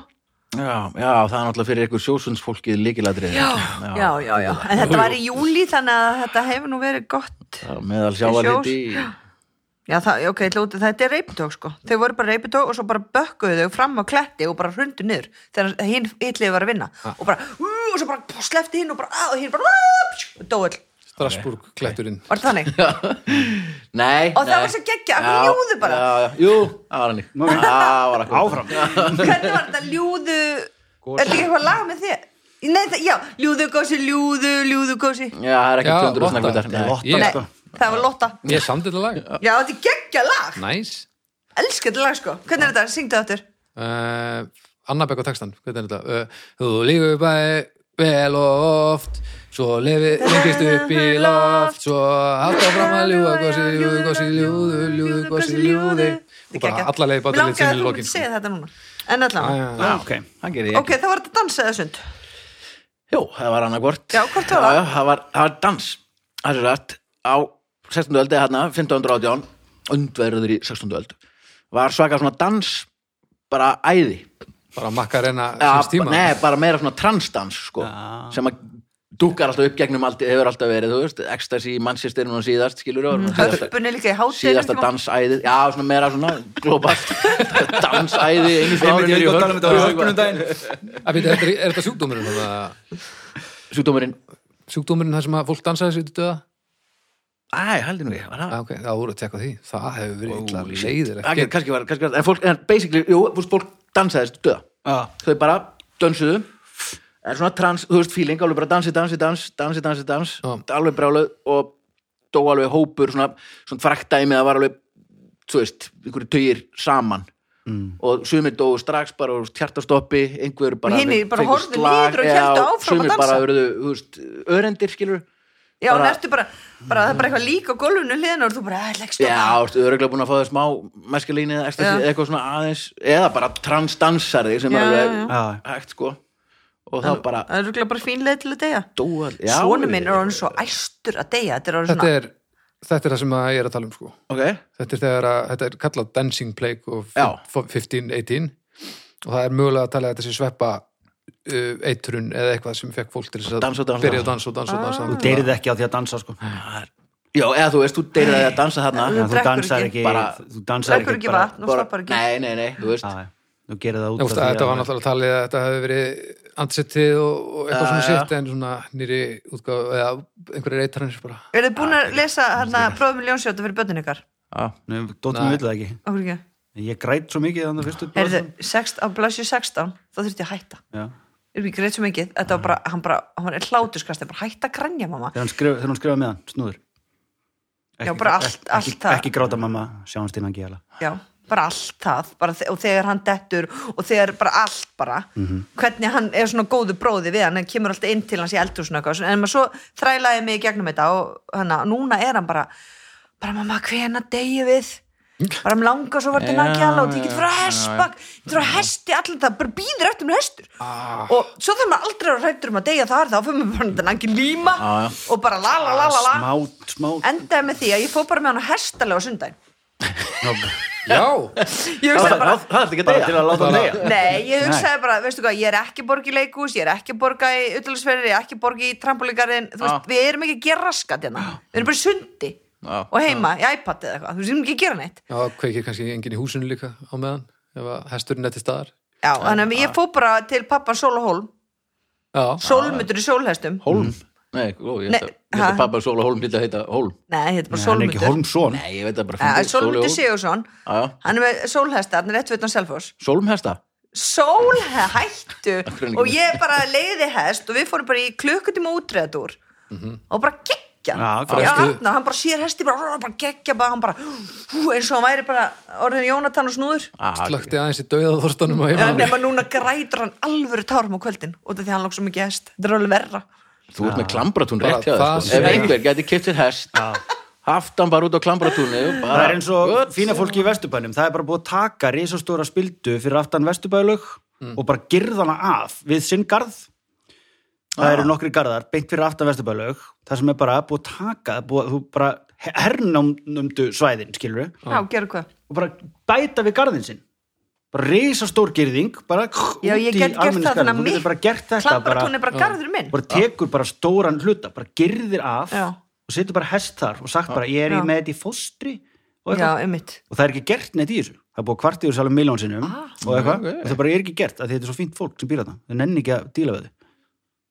Speaker 1: Já, já, það er náttúrulega fyrir ykkur sjósundsfólkið líkiladrið
Speaker 4: já, já, já, já en þetta var í júli þannig að þetta hefur nú verið gott
Speaker 1: já meðal sjávaliti í-
Speaker 4: já, það, ok, lúti, þetta er reypitók, sko þau voru bara reypitók og svo bara bökkuðu þau fram á kletti og bara hrundu niður þegar hinn hitliði var að vinna og bara, ú, og svo bara slefti hinn og bara, á, og hinn bara á, pjú, og dóill,
Speaker 2: Strasburg klætturinn.
Speaker 4: var það þannig
Speaker 1: Nei,
Speaker 4: Og það
Speaker 1: nei.
Speaker 4: var svo geggjað, af hverju
Speaker 1: Já,
Speaker 4: ljóðu bara?
Speaker 1: Já, já, jú, það var hannig Það var akkur
Speaker 3: áfram
Speaker 4: hvernig var þetta ljúðu er þetta ekki eitthvað lag með þér Nei, það, já, ljúðu gósi, ljúðu, ljúðu gósi Nei,
Speaker 1: Já, það er ekki
Speaker 2: Já,
Speaker 1: 200
Speaker 2: Lotta.
Speaker 1: snakkutar
Speaker 3: Nei, Lotta.
Speaker 2: Ég,
Speaker 3: sko.
Speaker 4: það var Lotta
Speaker 2: ég samdi þetta lag.
Speaker 4: Já, þetta er geggja lag,
Speaker 2: Næs.
Speaker 4: elska þetta lag sko Hvernig er þetta, syngdu þetta
Speaker 2: Uh, Anna Bekk á textan, hvernig er þetta? Uh, þú lífur bæði vel og oft, svo lefi, lengist upp í loft, svo halda fram að ljúða, gósi, ljúðu, gósi, ljúðu, ljúðu, gósi, ljúðu. Og bara alla leiði báttið litt sinni í
Speaker 4: Mér langaði að
Speaker 2: lokin. sko.
Speaker 4: þú segja þetta núna En allan,
Speaker 2: Já,
Speaker 3: Já, ok,
Speaker 1: Það gerði ég
Speaker 4: ok, það var þetta dansa eða sund
Speaker 1: Jú, það var annarkvort
Speaker 4: Já, hvort var það?
Speaker 1: Já, já, það var, það var dans Það er rætt á 16. öldi hérna, 1518 undverður í 16. öld var svaka svona dans bara æði
Speaker 2: Bara hérna makka reyna
Speaker 1: Já,
Speaker 2: síns tíma.
Speaker 1: Nei, bara meira svona transdans sko, sem að dúkar alltaf upp gegnum allt, hefur alltaf verið, þú veist Ecstasy, Manchester og síðast, skilur mm. síðasta,
Speaker 4: Hörpunni líka í hátíð
Speaker 1: síðasta dansæði Já, svona meira svona globalt dansæði, einu svona
Speaker 3: Einmitt, ég er ekki að tala um þetta á hörpunum
Speaker 1: árið
Speaker 3: daginn
Speaker 2: Að býta, Er er Eh, þetta sjúkdómurinn? þarna?
Speaker 1: Sjúkdómurinn
Speaker 2: Sjúkdómurinn þar sem að fólk dansaði sér til döða?
Speaker 1: Æ, haldi nú ég, var það
Speaker 2: Já, Ah, ok, það voru að tekka því. Það hefur verið illa
Speaker 1: Holy shit.
Speaker 2: leiðir.
Speaker 1: Það getur- kannski var, kannski var, en fólk, en basically, jú, þú veist, fólk dansaði þessu döða.
Speaker 3: Já.
Speaker 1: Þau bara dönsuðu, en svona trans, þú veist, feeling, alveg bara dansi, dansi, dans, dansi, dansi, dans,
Speaker 2: Já.
Speaker 1: alveg bráluð og dó alveg hópur, svona, svona fræktæmi, það var alveg, þú veist, einhverju tugir saman.
Speaker 4: Mm.
Speaker 1: og sumir dóu strax bara úr tjartastoppi einhver bara,
Speaker 4: Og hinir bara
Speaker 1: fengu
Speaker 4: horfðu
Speaker 1: slag,
Speaker 4: niður og
Speaker 1: já,
Speaker 4: héldu áfram að
Speaker 1: sumir
Speaker 4: dansa.
Speaker 1: bara urðu, þú veist, örendir skilur
Speaker 4: já,
Speaker 1: bara-
Speaker 4: bara, nertu bara, bara það er bara eitthvað lík á gólfinu hliðin og þú bara, að, leggst
Speaker 1: já,
Speaker 4: á
Speaker 1: þú veist, öruglega búin að fá það smá meskalín eða ekstasi,
Speaker 4: Já.
Speaker 1: eitthvað svona aðeins eða bara transdansari sem
Speaker 4: Já,
Speaker 1: er
Speaker 4: já,
Speaker 1: alveg
Speaker 3: Já,
Speaker 1: hægt sko og þá bara
Speaker 4: það er rúglega bara fín leið til að deyja
Speaker 1: dóa
Speaker 4: svona minn er orðin svo æstur að deyja þetta er orðin
Speaker 2: þetta
Speaker 4: svona,
Speaker 2: er, þetta er það sem að ég er að tala um sko.
Speaker 1: ok,
Speaker 2: þetta er, þegar að, þetta er kallað Dancing Plague of
Speaker 1: Já.
Speaker 2: 15, 18 og það er mögulega að tala að þetta sé sveppa uh, eitrun eða eitthvað sem fekk fólk til þess að
Speaker 1: Dansa og dansa.
Speaker 2: byrja að dansa og dansa og dansa
Speaker 3: þú deyrið ekki á því að dansa sko.
Speaker 1: já, eða þú veist, þú deyrir að því að dansa
Speaker 4: Já.
Speaker 1: þarna
Speaker 3: Já, þú
Speaker 4: drekkur
Speaker 3: dansar
Speaker 4: ekki.
Speaker 3: ekki,
Speaker 1: Bara-
Speaker 3: þú dansar
Speaker 4: drekkur
Speaker 3: ekki,
Speaker 4: ekki vatn og
Speaker 1: Bara-
Speaker 4: slappar ekki
Speaker 1: nei, nei, nei, þú veist
Speaker 3: Já, já. þú gerir það út
Speaker 2: Úst, þetta var náttúrulega talið að þetta hefði verið antisettið og, og
Speaker 1: Já,
Speaker 2: eitthvað svona
Speaker 1: já.
Speaker 2: sitt en svona nýri útgáð eða einhverju reytarnir bara
Speaker 4: eru þið búin að lesa hérna bróðum miljónsjóta fyrir börnin ykkar
Speaker 1: Já.
Speaker 3: náttúrulega Dóttum við það ekki
Speaker 4: okkur ekki,
Speaker 3: Ég græt svo mikið þannig fyrstu
Speaker 4: heyrðu, sext- á blæsju 16 þá þurfti ég að hætta
Speaker 3: Já.
Speaker 4: Ég er ekki greitt svo mikið, þetta var bara, hann bara, hann var hlátuskast, bara hætt að grænja mamma.
Speaker 3: Þegar hann skrif- þegar hún skrifaði með hann, snúður
Speaker 4: Já, bara allt-
Speaker 3: ekki,
Speaker 4: allt
Speaker 3: ekki,
Speaker 4: það.
Speaker 3: ekki gráta mamma, sjáumst innan gíla
Speaker 4: Já, bara allt það, bara, þe- og þegar hann dettur og þegar bara allt bara,
Speaker 1: Mhm.
Speaker 4: hvernig hann er svona góðu bróði við hann, hann kemur alltaf inn til hans í eldhúsinu og eitthvað, svona, en maður svo þrælaði mig í gegnum þetta og hana, núna er hann bara, bara mamma, hvena degi við? bara hann langar svo vartin
Speaker 1: Já,
Speaker 4: að gjala og
Speaker 1: Mm. já,
Speaker 4: ég get frá
Speaker 1: já, já.
Speaker 4: hestbak, ég get frá hesti allan það, bara býður eftir mér hestur
Speaker 1: Ah.
Speaker 4: og svo þarf maður aldrei að rættur um að deyja þar þá fyrir maður bara þetta ekki líma
Speaker 1: Já, já.
Speaker 4: og bara la la la la la
Speaker 3: smá, smá
Speaker 4: endaði með því að ég fór bara með hann á hestalega á sundaginn
Speaker 2: Já,
Speaker 4: ég
Speaker 1: það
Speaker 4: hugsaði bara,
Speaker 1: það- það er ekki að
Speaker 3: bara til
Speaker 1: deyja
Speaker 3: að láta hann
Speaker 2: Bara-
Speaker 3: deyja
Speaker 4: nei, ég hugsaði bara, veistu hvað, ég er ekki að borga í leikús, ég er ekki að borga í utalagsferðir, ég er ekki að borga í trampolíkarinn, þú veist,
Speaker 1: Já.
Speaker 4: við erum ekki að gera raskat hérna, við erum bara í sundi
Speaker 1: Já.
Speaker 4: og heima í iPad eða eitthvað, þú veist, við erum ekki að gera neitt
Speaker 2: já kveikir kannski enginn í húsinu líka á meðan ef að hesturinn er til staðar
Speaker 4: já, þannig að ég fór bara til pappa Sólahólm,
Speaker 2: Já,
Speaker 4: Sólmutur í Sólhestum
Speaker 1: Hólm,
Speaker 3: Mm.
Speaker 1: nei, ó, ég
Speaker 4: Nei,
Speaker 1: held að- ég held
Speaker 4: ha?
Speaker 1: að pappa Sóla Hólm hlýtti að heita Hólm
Speaker 4: nei, þetta er bara
Speaker 3: Nei, hann er ekki
Speaker 4: Sólmutur
Speaker 3: Holmsson
Speaker 1: nei, ég veit það bara
Speaker 4: Ja,
Speaker 1: fyndið, Sóli
Speaker 4: Sólmundur
Speaker 1: Hólm.
Speaker 4: Sigursson
Speaker 1: Já, já.
Speaker 4: hann er með sólhesta, hann er rétt veitan Selfoss
Speaker 1: Sólmhesta
Speaker 4: sólhe
Speaker 1: hverju
Speaker 4: hættu
Speaker 1: er hann ekki
Speaker 4: og
Speaker 1: með?
Speaker 4: ég bara leiði hest og við fórum bara í klukkutíma útreðatúr
Speaker 1: Mhm.
Speaker 4: og bara geggja
Speaker 3: Já,
Speaker 4: já,
Speaker 3: fræstu.
Speaker 4: Arnar, hann bara sér hesti bara, bara geggja, bara, hann bara hú, eins og hann væri bara orðin Jónatan og snúður
Speaker 1: Ah,
Speaker 2: slökti aðeins í dauðaðortanum og
Speaker 4: Já,
Speaker 2: heima
Speaker 4: nema núna grætur hann alvöru tárum á kvöldin út af því að hann lók svo mikið hest þetta er alveg verra
Speaker 1: Þú ert með klambratún rétt hjá
Speaker 2: Bara
Speaker 1: það
Speaker 2: það
Speaker 1: sko.
Speaker 2: sem-
Speaker 1: Ef einhver geti kipt sér hest haft hann bara út á klambratúni
Speaker 4: Ah,
Speaker 3: það er eins og fína fólki í Vesturbænum það er bara búið að taka risastóra spildu fyrir aftan Vesturbælug
Speaker 4: Mm.
Speaker 3: og bara girðana af við sinn garð
Speaker 4: Ah.
Speaker 3: það eru nokkri garðar beint fyrir aftan Vesturbælug það sem er bara búið að taka búið, þú bara hernámnumdu svæðin skilur
Speaker 4: já, gera hvað
Speaker 3: og bara bæta við garðin sinn bara risastór girðing bara
Speaker 4: já, ég get gert það þannig að
Speaker 3: þú getur bara gert þetta bara,
Speaker 4: klambratún er bara garður minn
Speaker 3: bara tekur bara stóran hluta bara girðir af
Speaker 4: Já.
Speaker 3: og setur bara hest þar og sagt bara ég er í
Speaker 4: Já.
Speaker 3: með þetta í fóstri og,
Speaker 4: já,
Speaker 3: eitthvað.
Speaker 4: einmitt
Speaker 3: og það er ekki gert neitt í þessu það er búið að kvarta yfir salum miljón sinnum og, eitthvað,
Speaker 1: ok.
Speaker 3: og það bara er ekki gert af því þetta er svo fínt fólk sem býr þetta það nenni ekki að díla við þau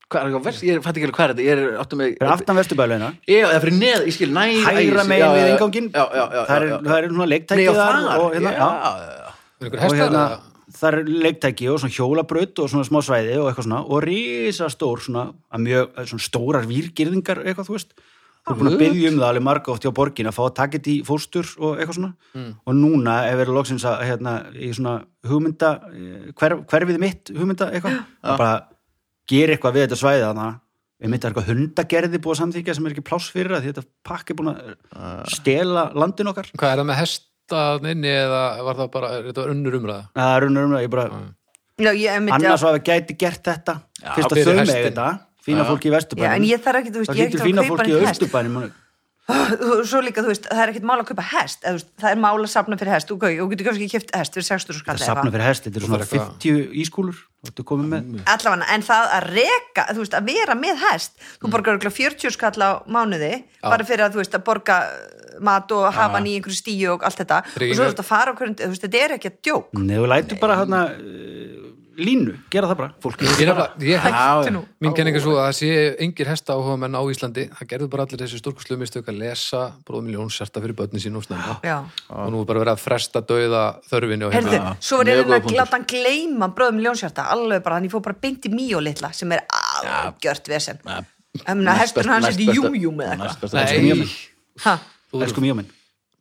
Speaker 1: Hvað er verð? Ég fætti ekki alveg hvað er þetta Ég er áttu með
Speaker 3: fyrir aftan vesturbæðulegina
Speaker 1: Ég er fyrir neð Ég skil næ
Speaker 3: hægra
Speaker 1: æ,
Speaker 3: megin
Speaker 1: já,
Speaker 3: við
Speaker 1: já,
Speaker 3: ingangin
Speaker 1: Já, já, já
Speaker 3: það er,
Speaker 1: já, já.
Speaker 3: það er svona
Speaker 1: Nei,
Speaker 3: leiktæki
Speaker 1: og
Speaker 3: þar
Speaker 1: þar
Speaker 3: og, hérna,
Speaker 1: já,
Speaker 3: já,
Speaker 1: já, já.
Speaker 2: Er einhver
Speaker 3: og
Speaker 2: hestar?
Speaker 3: hérna,
Speaker 2: eða?
Speaker 3: það er leiktæki og svona hjólabraut og svona smá svæði og eitthvað svona og risastór svona, að mjög, svona stórar výrgirðingar eitthvað þú veist þú er búin
Speaker 2: Ah,
Speaker 3: að byggja um það alveg marga oft hjá borgin að fá að taka þetta í fóstur og eitthvað svona
Speaker 2: Mm.
Speaker 3: og núna er verið loksins að hérna, í svona hugmynda eh, hver, hverfið mitt hugmynda eitthvað að bara gera eitthvað við þetta svæði þannig að við mitt er eitthvað hundagerði búið að samþykja sem er ekki pláss fyrir að því þetta pakk er búin
Speaker 2: Ah.
Speaker 3: að stela landin okkar
Speaker 2: Hvað er það með hestaðinni eða var það bara, er þetta var önnur umræða
Speaker 3: að runnur um það, ég bara
Speaker 2: Ah.
Speaker 4: já, ég einmitt já.
Speaker 3: annars að við gæti gert þetta fyrst að
Speaker 2: fyrir
Speaker 3: þau með
Speaker 2: hestin.
Speaker 3: þetta fína fólki í
Speaker 4: já, en
Speaker 3: vesturbænum
Speaker 4: ég þarf ekki, þú veist,
Speaker 3: það
Speaker 4: ég er
Speaker 3: getur
Speaker 4: ekki
Speaker 3: fína
Speaker 4: að kaupa
Speaker 3: fólki í
Speaker 4: neitt hest
Speaker 3: austubænum
Speaker 4: Þú- svo líka, þú veist, það er ekkert mál að kaupa hest eða, þú veist, það er mál að safna fyrir hest þú, þú getur kannski kipt hest fyrir 60 skall
Speaker 3: það
Speaker 4: eða
Speaker 3: safna
Speaker 4: eitthvað.
Speaker 3: fyrir hest, þetta eru
Speaker 2: Og
Speaker 3: svona
Speaker 2: það er eitthvað-
Speaker 3: 50 ískúlur þú komið með
Speaker 4: allavega, en það að reka þú veist, að vera með hest
Speaker 1: Mm.
Speaker 4: þú borgar örugglega 40 skall á mánuði bara fyrir að, þú veist, að borga uh, mat og hafa hann í einhverju stíu og allt þetta og svo
Speaker 2: Tryggingar.
Speaker 4: þú veist að fara okkur, þú veist, þetta er ekki að djók
Speaker 3: Nei, þú lætur bara hérna uh, línu, gera það bara fólki
Speaker 2: Ég, nefnilega- ég
Speaker 1: Hættu
Speaker 2: held,
Speaker 1: nú.
Speaker 2: mín kenning er svo að það sé engir hesta áhuga menn á Íslandi það gerðu bara allir þessi stórkustlegu mistök að lesa bróðum miljónsjarta fyrir börnin sín og snemma
Speaker 4: Já.
Speaker 2: og nú er bara verið að fresta dauða þörfinni og
Speaker 4: Heyrðu,
Speaker 2: hérna
Speaker 4: svo var ég
Speaker 1: mjög
Speaker 4: að reyna
Speaker 1: góður
Speaker 4: að
Speaker 1: punktur.
Speaker 4: láta hann gleyma bröðum ljónsjarta, alveg bara, þannig ég fór bara beint í mjög litla sem er algjört vesen
Speaker 1: Já.
Speaker 4: ja.
Speaker 1: Næst
Speaker 4: hestur
Speaker 1: best-
Speaker 4: hans
Speaker 1: næst
Speaker 4: er í
Speaker 1: besta-
Speaker 4: júmjúm eða
Speaker 1: næst
Speaker 4: eitthvað
Speaker 1: besta-
Speaker 2: Nei,
Speaker 1: Elsku mjög minn.
Speaker 2: ég
Speaker 4: Ha?
Speaker 3: elsku mjög minn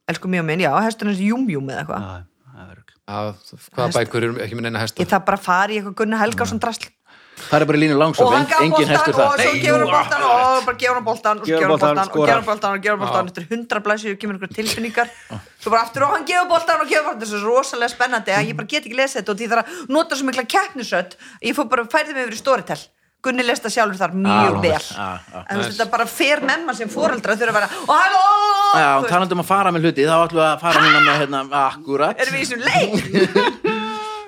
Speaker 4: elsku mjög minn, já, hestur hans er í júmjúm eða eitthvað
Speaker 3: Já, það er örugg.
Speaker 2: af hvaða
Speaker 4: Hesta.
Speaker 2: bækur eru ekki með neina hesta
Speaker 4: ég þarf bara að fara í eitthvað Gunnar Helgason drasl
Speaker 1: það er bara línu langsótt,
Speaker 4: og hann gaf
Speaker 1: en, engin
Speaker 4: boltan
Speaker 1: hestur
Speaker 4: og
Speaker 1: það
Speaker 4: svo
Speaker 1: Nei,
Speaker 4: gefur hann
Speaker 3: jú,
Speaker 4: boltan og
Speaker 3: akkurat.
Speaker 4: bara gefur hann boltan og svo
Speaker 3: Gefur
Speaker 4: gefur hann
Speaker 3: boltan,
Speaker 4: boltan og gefur
Speaker 3: skorar.
Speaker 4: hann boltan og gefur hann boltan eftir hundra blæsir og kemur ykkur tilfinningar svo bara aftur og hann gefur boltan og gefur boltan þessu er svo rosalega spennandi að ég bara get ekki lesið þetta og því þarf að nota svo mikla keppnisöld ég fór bara að færði mig yfir í storytel Gunni lest það sjálfur þar mjög
Speaker 1: Ah,
Speaker 4: vel
Speaker 1: ah, ah,
Speaker 4: en þú veist þetta bara fer með maður sem foreldra þurfa að vera og hann og- og
Speaker 1: Já,
Speaker 4: þú veist,
Speaker 1: talandi um að fara með hluti, þá ætlum við að fara núna með hérna, akkurat
Speaker 4: erum við í þessum leik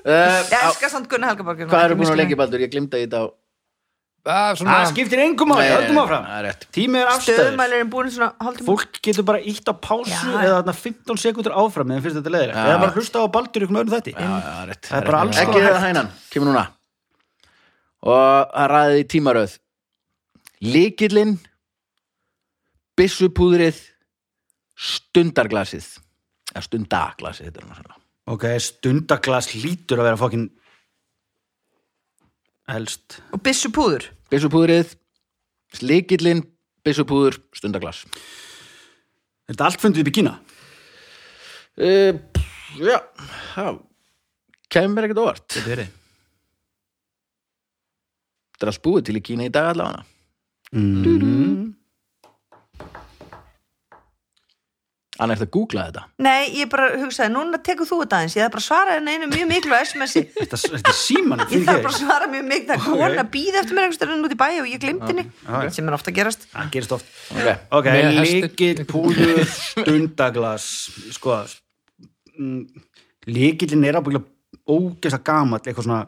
Speaker 1: uh,
Speaker 4: ég elska samt Gunni Helgaborg
Speaker 1: Hvað eru búin að lengi, Baldur? Ég glimta í þetta á
Speaker 2: af Ah, svona
Speaker 4: Ah,
Speaker 3: Það skiptir engum ári,
Speaker 1: Nei,
Speaker 3: höldum
Speaker 1: nei,
Speaker 3: áfram
Speaker 1: það er rétt.
Speaker 3: Tími er afstöður
Speaker 4: stöðumælirinn búin svona hálftíma
Speaker 3: Fólk getur bara ítt á pásu
Speaker 4: Já.
Speaker 3: eða þarna 15 sekundur áfram eða finnst þetta leiðilegt eða bara hlusta á baldur ykkur mörgum þetta
Speaker 1: Já, já, rétt.
Speaker 3: Það er bara alls
Speaker 1: Ekki
Speaker 3: konar
Speaker 1: það
Speaker 3: hægt.
Speaker 1: hænan, kemur núna Og það ræði í tímaröð Líkillinn Byssupúðrið Stundarglasið Eða stundaglasið þetta er nú svona.
Speaker 3: Ok, stundaglas lítur að vera fokkin helst
Speaker 4: og byssu púður
Speaker 1: Byssupúðrið Líkillinn, byssupúður, stundaglas
Speaker 3: Er þetta allt fundið upp í Kína?
Speaker 1: uh, Já, það kemur mér ekkert óvart
Speaker 3: Þetta er þið
Speaker 1: Þetta er allt búið til í Kína í dag allavega Anna er þetta að googla þetta
Speaker 4: Nei, ég bara hugsaði, núna tekur þú þetta aðeins ég þarf bara að svara henni einu mjög miklu SMS-i ég
Speaker 3: Þetta þetta er síman
Speaker 4: þarf bara að svara mjög miklu það er
Speaker 3: Ok.
Speaker 4: kona býð eftir mér einhvers stærðin út í bæ og ég glemdi henni,
Speaker 3: ok.
Speaker 4: sem er ofta að gerast
Speaker 3: Það gerist oft
Speaker 1: okay.
Speaker 3: Ok,
Speaker 2: Með hesti.
Speaker 3: líkill, púður, stundaglas Sko mm, Líkillin er ábyggla ógeðsa gamall, eitthvað svona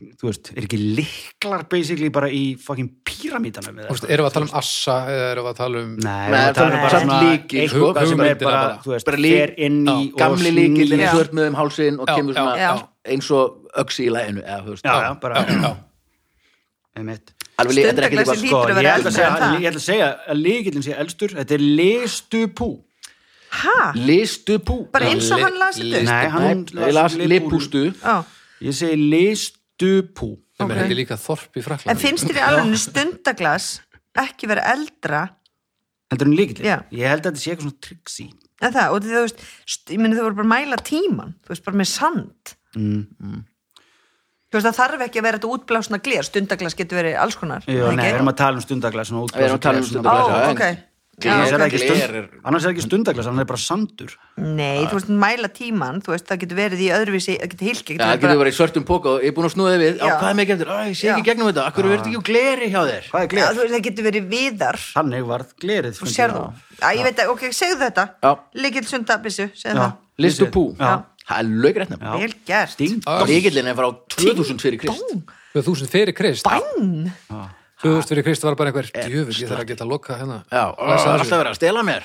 Speaker 3: þú veist, er ekki liklar basically bara í fucking píramítanum
Speaker 2: Þú veist, erum við að tala um Assa eða erum við að tala um
Speaker 3: Nei,
Speaker 1: Nei,
Speaker 3: það er
Speaker 1: það er
Speaker 3: bara
Speaker 1: samt
Speaker 3: svona
Speaker 1: lykill, sko.
Speaker 3: eitthvað sem er
Speaker 2: Hugmyndin er
Speaker 3: bara,
Speaker 2: bara-
Speaker 3: þú veist,
Speaker 1: bara lyk-
Speaker 3: fer inn í og
Speaker 1: gamli líkil er
Speaker 3: snýr-
Speaker 4: Já.
Speaker 1: svört með um hálsin og
Speaker 2: Já,
Speaker 1: kemur svona
Speaker 4: já.
Speaker 1: eins og öksi í læginu eða, þú veist,
Speaker 3: Já, já, bara
Speaker 2: já.
Speaker 3: einmitt.
Speaker 1: alveg líka, þetta er ekkert
Speaker 4: Stundarglasið
Speaker 1: eitthvað
Speaker 3: Sko, ég
Speaker 1: sko,
Speaker 4: líka. Hlýtur að
Speaker 3: ætla að
Speaker 4: vera eldra
Speaker 3: segja,
Speaker 4: en það.
Speaker 3: ég ætla að segja að líkillin sé elstur, þetta er listupú
Speaker 4: ha,
Speaker 1: sko- listu pú
Speaker 4: Bara eins og hann las þetta upp?
Speaker 3: Nei, hann las
Speaker 1: las
Speaker 3: lipú-
Speaker 1: lipústu
Speaker 4: á,
Speaker 3: Ég segi listupú
Speaker 2: sem
Speaker 4: Ok.
Speaker 2: er ekki líka þorp í Frakland
Speaker 4: en finnst þér í alveg stundaglas ekki vera eldra
Speaker 3: Heldur hún líkillin?
Speaker 4: Já.
Speaker 3: Ég held að þetta sé eitthvað svona triksi
Speaker 4: en það, og því þú veist, st- ég meni þau voru bara að mæla tíman þú veist, bara með sand
Speaker 3: Mm.
Speaker 4: Mm. þú veist, það þarf ekki að vera þetta útblásna glér, stundaglas getur verið alls konar
Speaker 3: Jú,
Speaker 4: er
Speaker 3: nei,
Speaker 4: ekki?
Speaker 3: við erum að tala um stundaglas svona
Speaker 1: við erum að tala um
Speaker 3: útblásið
Speaker 1: stundu
Speaker 3: gler,
Speaker 4: Ó,
Speaker 1: glasa
Speaker 4: ok. Já,
Speaker 3: svona- Annars
Speaker 4: ok.
Speaker 3: er það ekki
Speaker 1: gler er
Speaker 3: stund- Annars er það ekki stundaglas, annars er bara sandur
Speaker 4: Nei, þú veist, mæla tíman, þú veist, það getur verið í öðruvísi, það getur hilki,
Speaker 1: Já, það getur verið í svörtum póka og ég er búin að snúða þig við á
Speaker 4: Já.
Speaker 1: hvað er mikið eftir, Æ, ég sé ekki í gegnum þetta akkur verður ekki á gleri hjá þér
Speaker 3: Hvað er
Speaker 4: Já,
Speaker 3: gler?
Speaker 4: þú veist, það getur verið viðar
Speaker 3: Þannig varð glerið
Speaker 4: og
Speaker 3: fundið
Speaker 4: sér þú,
Speaker 3: á.
Speaker 4: Æ, ég veit að, ok, segðu þetta
Speaker 1: Já.
Speaker 4: líkil sundabissu, segðu
Speaker 3: Já.
Speaker 4: það
Speaker 1: listu pú,
Speaker 3: Já.
Speaker 1: það er laugrætt nefn
Speaker 4: vel gert,
Speaker 3: Ding
Speaker 1: líkillin er frá 2000 fyrir krist
Speaker 2: 2000 fyrir Krist
Speaker 4: bæn
Speaker 2: 2000 fyrir Krist var bara einhver djöfur, ég þarf að geta að loka hérna
Speaker 1: Já, það er alltaf verið að stela mér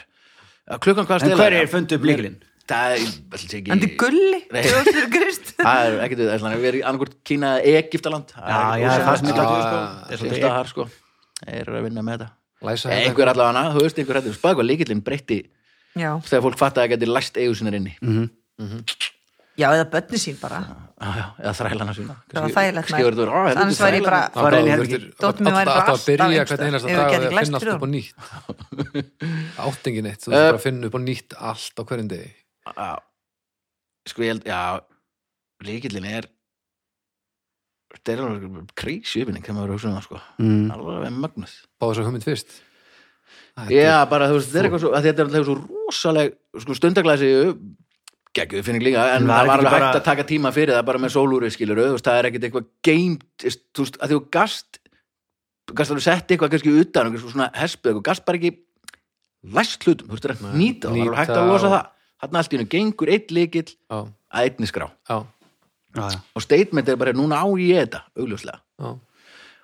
Speaker 1: Já, klukkan hvað að
Speaker 3: En
Speaker 1: stela
Speaker 3: hverjir fundu upp lykilinn?
Speaker 1: Það er, ætli ekki
Speaker 4: en þið gulli,
Speaker 1: Nei.
Speaker 4: þú veist fyrir krist
Speaker 1: Það er ekkert við, ætla hann að vera í annarkvort Kína eða Egiptaland
Speaker 3: Já, já, það er sem ég
Speaker 2: Já,
Speaker 3: takk
Speaker 2: já,
Speaker 3: sko
Speaker 1: Það er svolítið
Speaker 3: Það
Speaker 1: þar sko Það eru að vinna með þetta
Speaker 2: Læsa
Speaker 1: Eða
Speaker 2: hérna.
Speaker 1: Einhver allavega hana, þú veist einhver hættur Spæðu hvað líkillinn breytti
Speaker 4: já,
Speaker 1: þegar fólk fatt að það geti læst eigu sinnar inni
Speaker 3: Mhm.
Speaker 1: mm.
Speaker 4: já, eða bönni sín bara
Speaker 1: já, Eða þrælana sína
Speaker 4: það var þægilegt
Speaker 1: Kanski verður þú, á, helviti,
Speaker 4: annars væri ég bara,
Speaker 3: Það var einn í herbergi.
Speaker 4: Dóttir mín væri
Speaker 2: alltaf
Speaker 4: bara
Speaker 2: að
Speaker 4: alltaf
Speaker 2: byrja
Speaker 4: einhvers
Speaker 2: hvern
Speaker 4: staðar.
Speaker 2: einasta
Speaker 4: Ef ég
Speaker 2: dag
Speaker 4: gæti
Speaker 2: að
Speaker 4: glæst
Speaker 2: finna allt
Speaker 4: fyrir
Speaker 2: upp á nýtt áttingi neitt, þú veist bara að finna upp á nýtt allt á hverjum degi
Speaker 1: Já, sko ég held, já Líkillinn er Þetta er alveg krísi uppinning þegar maður er að hugsa um það sko
Speaker 3: Mm.
Speaker 1: Alveg mögnuð
Speaker 2: bá þess að hugmynd fyrst Æ,
Speaker 1: Já, bara þú veist, þetta er eitthvað svo að Þetta er alltaf svo rosaleg sko, stundaglæsi geggjum við finning líka, en
Speaker 3: En var
Speaker 1: það var
Speaker 3: ekki
Speaker 1: alveg
Speaker 3: bara-
Speaker 1: hægt að taka tíma fyrir það bara með sólúri skilur þú veist, það er ekkit eitthvað geimt þú veist, að því þú gast gast alveg sett eitthvað kannski utan eitthvað svona hespið, eitthvað gast bara ekki læst hlutum, þú veist, það er að nýta það, það er alveg hægt
Speaker 2: Nýta
Speaker 1: að losa
Speaker 2: og-
Speaker 1: það þarna allt í hennu gengur einn líkil
Speaker 2: já,
Speaker 1: að einni skrá
Speaker 2: já,
Speaker 3: Já, já.
Speaker 1: og statement er bara, núna á ég þetta augljóslega,
Speaker 2: já,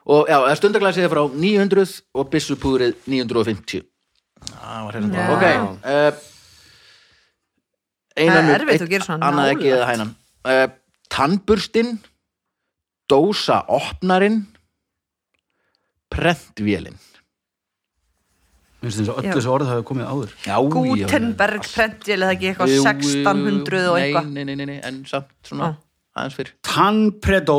Speaker 1: og já, eða stundaglæsið er frá 900 og byssupúrið 950 það var hérna
Speaker 4: Já.
Speaker 1: ok uh,
Speaker 4: Það
Speaker 1: einan
Speaker 4: er erfitt að gera svona
Speaker 1: annað ekki
Speaker 4: nálægt.
Speaker 1: eða hænan uh, tannburstinn dósa opnarinn prentvélinn
Speaker 3: Mér finnst þess að
Speaker 4: Já.
Speaker 3: öllu þessu orð hafa komið áður
Speaker 1: Já, já, já.
Speaker 4: Gutenberg prenti, eða það ekki eitthvað
Speaker 1: Jú,
Speaker 4: 1600 og eitthvað
Speaker 1: nei, nei, nei, nei, en samt svona
Speaker 4: Ah.
Speaker 1: aðeins fyrir
Speaker 3: Tannpredó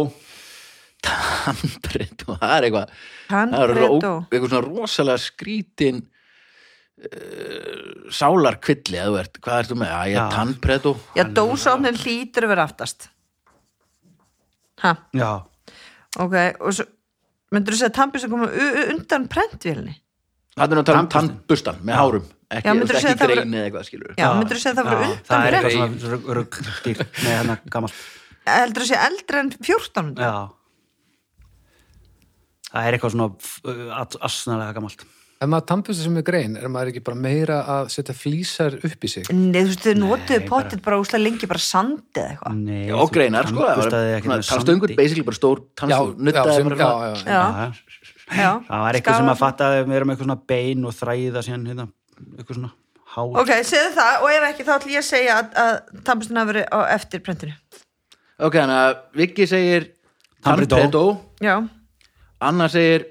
Speaker 1: tannbrett og það er eitthvað það er ro-
Speaker 4: Tannpredó.
Speaker 1: eitthvað svona rosalega skrítin eh, sálarkvilli eða þú ert, hvað ertu með? Æ, ég
Speaker 3: Já.
Speaker 1: er tannpredó
Speaker 4: Já, dósofnin hlýtur að vera aftast Ha,
Speaker 3: já,
Speaker 4: ok og svo, myndur þú segja að tannbjörn sem koma u- u- undan prentvélni?
Speaker 1: Það er nú að tala um
Speaker 3: Tannburstin.
Speaker 1: tannbustan með hárum ekki,
Speaker 4: Já, myndirðu
Speaker 1: ekki
Speaker 4: segja að það
Speaker 1: greini
Speaker 4: voru-
Speaker 1: eða eitthvað skilur
Speaker 4: Já, myndur þú segja að það
Speaker 3: já,
Speaker 4: vera
Speaker 3: það
Speaker 4: undan
Speaker 3: er
Speaker 4: prentvélni?
Speaker 3: eitthvað svona ruggdýr með hennar gamalt
Speaker 4: Heldur þú segja eldri en 14?
Speaker 3: já það er eitthvað svona uh, asnalega gamalt
Speaker 2: Ef maður tannbjörnstu sem er grein, er maður ekki bara meira að setja flísar upp í sig?
Speaker 4: Nei, þú veist, þau notuðu
Speaker 3: bara-
Speaker 4: pottet bara úslega lengi bara sandi eða eitthvað
Speaker 3: Nei,
Speaker 1: og greinar sko það var
Speaker 3: tannburstaði ekki
Speaker 1: svona
Speaker 3: með
Speaker 1: tannstöðungur,
Speaker 3: sandi.
Speaker 1: basically bara stór tannstöðung nuttaði
Speaker 2: sem,
Speaker 1: bara
Speaker 2: já,
Speaker 1: svona-
Speaker 2: já, já.
Speaker 4: Já,
Speaker 3: Já,
Speaker 4: já
Speaker 3: það var eitthvað sem að fatta að við erum eitthvað svona bein og þræða síðan hérna, eitthvað svona hár
Speaker 4: Ok, segðu það og ef ekki þá ætlum ég að segja að, að tannbjörn hafa verið á eftir prentinu
Speaker 1: ok, þannig að Viki segir
Speaker 3: Tannbredó.
Speaker 1: tannpredó,
Speaker 4: Já,
Speaker 1: Anna segir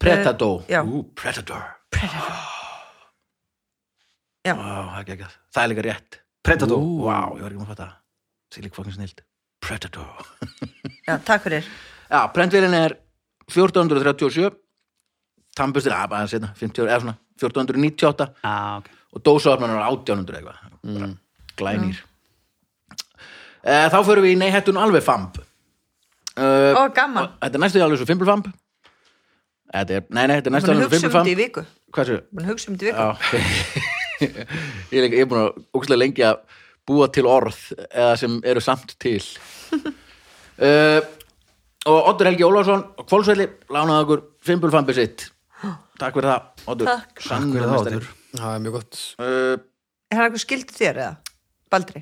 Speaker 1: pretadó
Speaker 4: Eh, já.
Speaker 1: Ú, predator
Speaker 4: Já.
Speaker 1: Vá, það er geggjað. það er líka rétt
Speaker 3: Predator.
Speaker 1: Ú, vá, ég var ekki maður að fatta Sýlik fokkin snild Predator
Speaker 4: já, takk fyrir
Speaker 1: Já, prentvélin er 1437 Tannbustin, að bara setna, 50 ára, eða svona 1498
Speaker 3: ah, okay.
Speaker 1: og dósaopnan var 1800 eitthvað mm. glænir mm. þá förum við í neyhettun alveg famb uh,
Speaker 4: Ó, gaman.
Speaker 1: og þetta er næstu alveg svo fimbulfamb þetta er, nei, nei, þetta er næstu
Speaker 4: Búin að
Speaker 1: alveg
Speaker 4: hugsa um þetta í
Speaker 1: fimbulfamb
Speaker 4: viku
Speaker 1: hvað sér?
Speaker 4: Búin að hugsa um þetta í viku
Speaker 1: Já, ég er líka- ég er búin að ógustlega lengi að búa til orð eða sem eru samt til uh, og Oddur Helgi Ólafsson og Kvolsvelli lánaði okkur fimbulfambi sitt takk fyrir það, Oddur Sannur
Speaker 4: Takk.
Speaker 3: Takk fyrir það,
Speaker 1: meistari.
Speaker 3: Oddur.
Speaker 2: Það er mjög gott.
Speaker 1: Uh,
Speaker 4: Er hann eitthvað skildur þér eða? Baldri?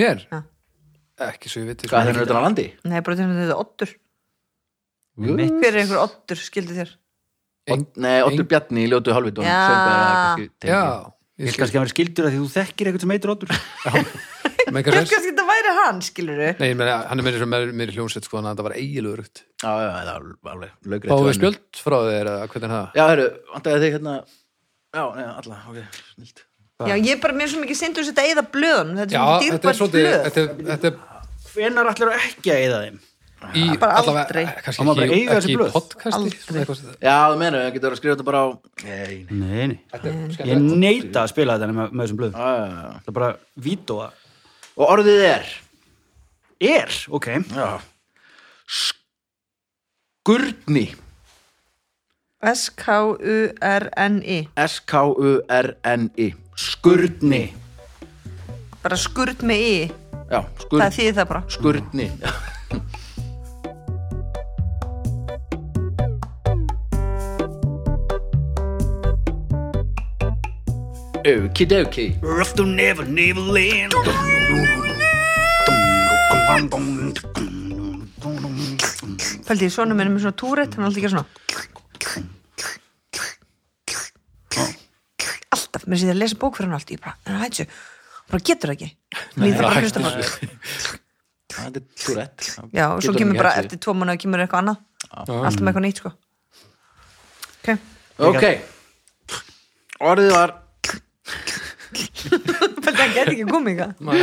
Speaker 2: Mér?
Speaker 4: Já.
Speaker 2: Ekki svo ég viti.
Speaker 1: hvað er þetta utan að landi?
Speaker 4: Nei, bara þegar þetta er oddur
Speaker 3: Mitt.
Speaker 4: Hver er einhver oddur skildur þér?
Speaker 2: Eng-
Speaker 1: Nei, Ottur
Speaker 2: eng-
Speaker 1: Bjarni í ljótu halvvitun
Speaker 4: Já.
Speaker 2: Já,
Speaker 3: Ég
Speaker 2: ég
Speaker 3: skal
Speaker 2: skil.
Speaker 3: kannski að vera skildur að því þú þekkir eitthvað sem heitir Oddur
Speaker 2: Menn
Speaker 4: Hver
Speaker 2: kannski-
Speaker 4: kannski þetta væri hann, skilur þau?
Speaker 2: Nei, ég meina, hann er meira sem meira meira í hljómsveit sko, þannig að þetta var eiginlega rutt.
Speaker 1: Já, já, það er alveg lögrið
Speaker 2: Fáðu við spjöld frá þér eða hvernig er það?
Speaker 1: Já, herru, vantaði þig hérna Já, neða, alla, ok, snilt
Speaker 4: Já, ég er bara mér er svo mikið sindur þetta eða blöðun Þetta
Speaker 2: Já,
Speaker 4: er svo
Speaker 2: þetta er
Speaker 4: dýrbært
Speaker 2: svolítið,
Speaker 4: blöð
Speaker 2: þetta er, þetta er
Speaker 3: Hvenar allir að ekki að eyða þeim?
Speaker 2: í
Speaker 4: Bara
Speaker 2: allavega,
Speaker 4: aldrei.
Speaker 2: eh,
Speaker 3: Á maður
Speaker 2: kannski
Speaker 3: bara
Speaker 2: ekki,
Speaker 3: eiga þessi
Speaker 2: ekki
Speaker 3: blöð?
Speaker 2: í podcasti.
Speaker 4: Aldrei.
Speaker 2: svona eitthvað sem það-
Speaker 1: Já, það meina, það getur að skrifa þetta bara á Nei, nei
Speaker 3: Nei, nei
Speaker 2: Þetta er
Speaker 3: Ég
Speaker 2: skemmtilegt.
Speaker 3: neita að spila þetta með, með þessum blöðum
Speaker 1: Já, já, já.
Speaker 3: Það er bara vítóa
Speaker 1: Og orðið er
Speaker 3: Er, ok
Speaker 1: Já Skurni
Speaker 4: S-K-U-R-N-I
Speaker 1: S-K-U-R-N-I Skurni
Speaker 4: Bara skurð með í
Speaker 1: Já,
Speaker 4: Það
Speaker 1: skurni
Speaker 4: þýðir það bara
Speaker 1: Skurni Okidoki
Speaker 3: Earth to never, never land
Speaker 4: Pældi, svona minn er með svona túrætt Hann er alltaf ekki svona Alltaf, mér sé það að lesa bók fyrir hann allt Ég bara, hann hættu Bara getur það ekki Mér þarf bara að hlusta á hann
Speaker 1: Það er túrætt
Speaker 4: Já, og svo kemur bara eftir tvo mánu kemur eitthvað annað Alltaf með eitthvað nýtt, sko Ok,
Speaker 1: Ok Orðið var
Speaker 4: pældi, hann geti ekki komið eitthvað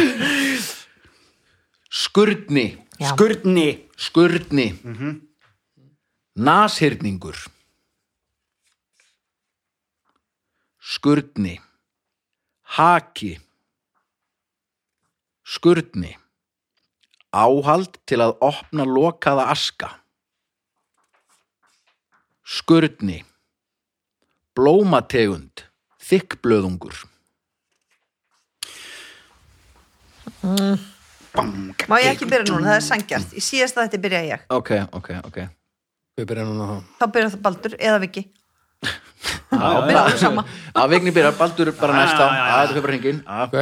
Speaker 1: skurni
Speaker 4: Já.
Speaker 3: Skurni
Speaker 1: Skurni Nashyrningur Skurni Haki Skurni Áhald til að opna lokaða aska Skurni Blómategund Þykkblöðungur
Speaker 4: Má ég ekki byrja núna, það er sangjart Í síðasta þetta byrja ég
Speaker 1: Ok, ok, ok
Speaker 2: Við byrjum núna á-
Speaker 4: Þá byrja það Baldur eða Viki
Speaker 1: Já,
Speaker 4: Byrja alveg sama
Speaker 1: að vigni byrjar, baldur bara
Speaker 3: já,
Speaker 1: næsta
Speaker 3: já,
Speaker 1: að þetta fyrir bara hringin að-
Speaker 2: Ok,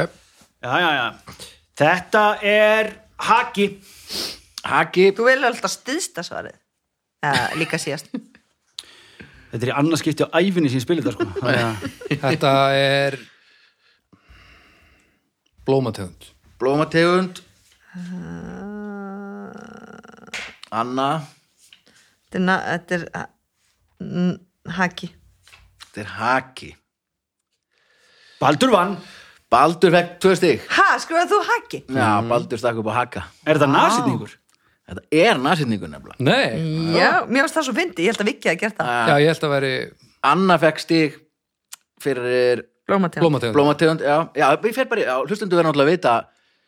Speaker 3: Já, já, já Þetta er Haki
Speaker 1: Haki
Speaker 4: Þú velur alltaf stiðsta svarið eh, Líka síðast
Speaker 3: Þetta er í annarskipti á æfinni sem ég spila þetta sko Þannig að
Speaker 2: Þetta er blómategund.
Speaker 1: blómategund Anna
Speaker 4: Þetta er, na- þetta er eh, n- Haki
Speaker 1: þetta er Haki
Speaker 3: Baldur vann
Speaker 1: Baldur fekk tvö stig
Speaker 4: Ha, skrifaði þú Haki?
Speaker 1: Já, Baldur stakk upp á Haka
Speaker 3: Er þetta nasýtningur?
Speaker 1: Þetta er nasýtningur nefnilega
Speaker 2: Nei, Eh,
Speaker 4: Já, mér varst það svo fyndi, ég held að Viki að gert það
Speaker 2: já, ég held að veri
Speaker 1: Anna fekk stig fyrir
Speaker 4: blómategund
Speaker 2: blómategund
Speaker 1: blómategund já, já, við fer bara, já, hlustendur verður náttúrulega að vita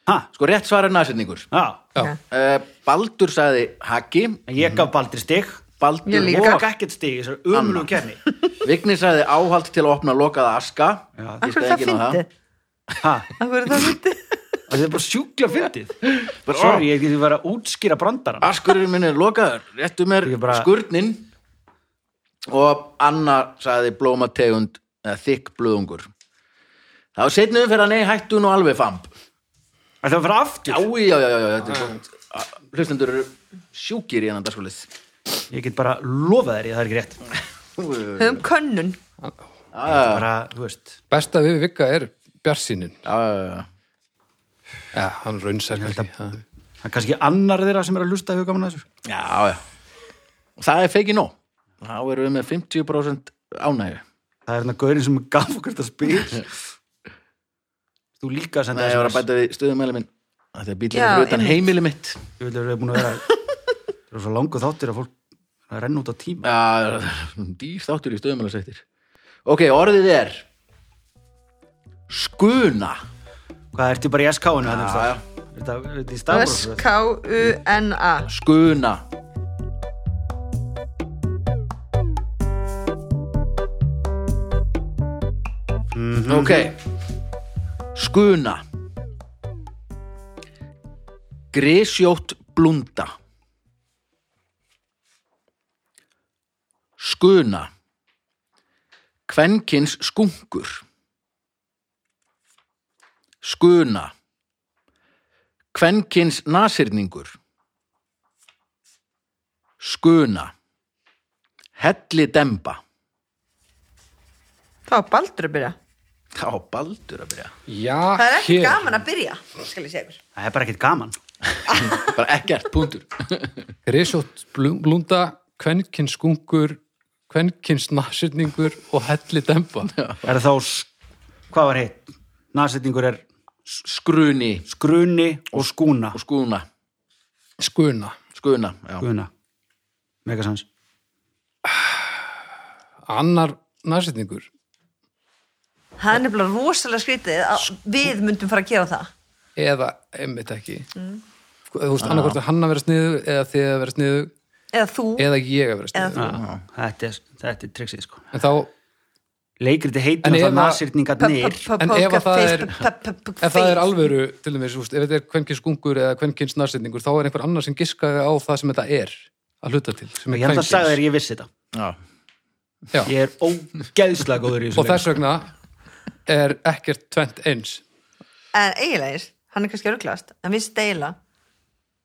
Speaker 3: ha,
Speaker 1: sko rétt svara nasetningur
Speaker 3: já,
Speaker 2: já,
Speaker 1: uh, Baldur sagði Haki
Speaker 3: en ég gaf Baldri stig
Speaker 1: Baldur
Speaker 4: Ég líka.
Speaker 1: og
Speaker 3: og Mm. ekkert stig, þessar umlum kefni
Speaker 1: Vigni sagði áhald til að opna lokaða aska
Speaker 3: Já.
Speaker 1: Ég
Speaker 4: Akkur
Speaker 1: stöð
Speaker 4: er það
Speaker 1: ekki ná
Speaker 4: fyndið?
Speaker 3: ha,
Speaker 4: Akkur er það fyndið?
Speaker 3: það er bara sjúkla fyndið sorry, ég geti verið að útskýra brandaran
Speaker 1: Askurinn minn er lokaður, réttu mér
Speaker 3: Ég bara-
Speaker 1: skurnin og Anna sagði blómategund eða þykk blöðungur Það var setni umferð að nei hættu nú alveg famp
Speaker 3: það var
Speaker 1: Já,
Speaker 3: aftur,
Speaker 1: já, já, já, já, þetta er gott A- Hlustendur eru sjúkir í hennan dagskólið
Speaker 3: ég get bara lofað þér ég það er ekki rétt
Speaker 4: Höfum könnun
Speaker 1: Já,
Speaker 3: bara, þú veist,
Speaker 2: besta við vika er bjarsýnin
Speaker 1: já, já,
Speaker 2: já, hann raunsar ekki það-
Speaker 3: það er kannski annar þeirra sem er að lusta hefur gaman að þessu
Speaker 1: já, já, já. Og Það er feiki nóg Þá erum við með 50% ánægju
Speaker 3: það er hérna gaurinn sem gaf okkur þetta spil þú líka að senda
Speaker 1: Nei, ég var að
Speaker 3: SMS.
Speaker 1: bæta við stöðumæli minn Þetta er bílir
Speaker 4: Já,
Speaker 1: fyrir utan
Speaker 4: einmitt.
Speaker 1: heimili mitt
Speaker 3: ég vil vera búin að vera það er svo langu þáttir að fólk að renna út á tíma
Speaker 1: Já, dýr þáttur í stöðumæla sættir Ok, orðið er Skuna
Speaker 3: hvað, ertu bara í hérna, SK-inu hann
Speaker 1: Já, já.
Speaker 3: þetta er þetta í stafur
Speaker 4: S-K-U-N-A
Speaker 1: Skuna Ok Skuna Grisjótt blunda Skuna Kvenkins skunkur Skuna Kvenkins nasirningur Skuna Helli demba
Speaker 4: Það var baldur að byrja
Speaker 1: Þá baldur að byrja
Speaker 2: já,
Speaker 4: Það er ekki
Speaker 2: hér.
Speaker 4: gaman að byrja Skal ég segja ykkur
Speaker 3: það er bara ekkert gaman
Speaker 1: Bara ekkert, punktur
Speaker 2: Risjótt blu- blunda, kvenkins skungur, kvenkins nasirningur og helli demba.
Speaker 3: er þá, s- hvað var hitt nasetningur er
Speaker 1: Skruni
Speaker 3: skruni og skúna
Speaker 1: og skuna
Speaker 2: Skuna.
Speaker 1: Skuna, já
Speaker 3: skuna, megasans
Speaker 2: Annar nasirningur.
Speaker 4: Það er nefnilega rosalega skrítið að við myndum fara að gera það
Speaker 2: Eða einmitt ekki.
Speaker 4: Mm.
Speaker 2: Sko, Þú veist, annarkvort er hann að vera sniðu eða þið að vera sniðu
Speaker 4: Eða þú
Speaker 2: eða ég að vera sniðu.
Speaker 4: Eða
Speaker 3: þetta er, þetta er triksið sko
Speaker 2: En þá,
Speaker 3: leikriti heitir
Speaker 2: En ef
Speaker 3: náttúrulega
Speaker 2: að-
Speaker 3: nasetningarnir
Speaker 2: En ef að það er- ef það er
Speaker 4: er
Speaker 2: alvöru, til dæmis, þú veist, ef þetta er kvenkins skungur eða kvenkins nasirningur, þá er einhver annar sem giskaði á það sem þetta er að hluta til. sem er
Speaker 3: ég held að
Speaker 2: kvenkins.
Speaker 3: sagði þér ég vissi þetta
Speaker 1: Já,
Speaker 2: Já.
Speaker 3: ég er ógeðslega góður í þessu
Speaker 2: Og þess vegna er ekkert tvent eins.
Speaker 4: En eiginlega er, hann er kannski örglast En við steila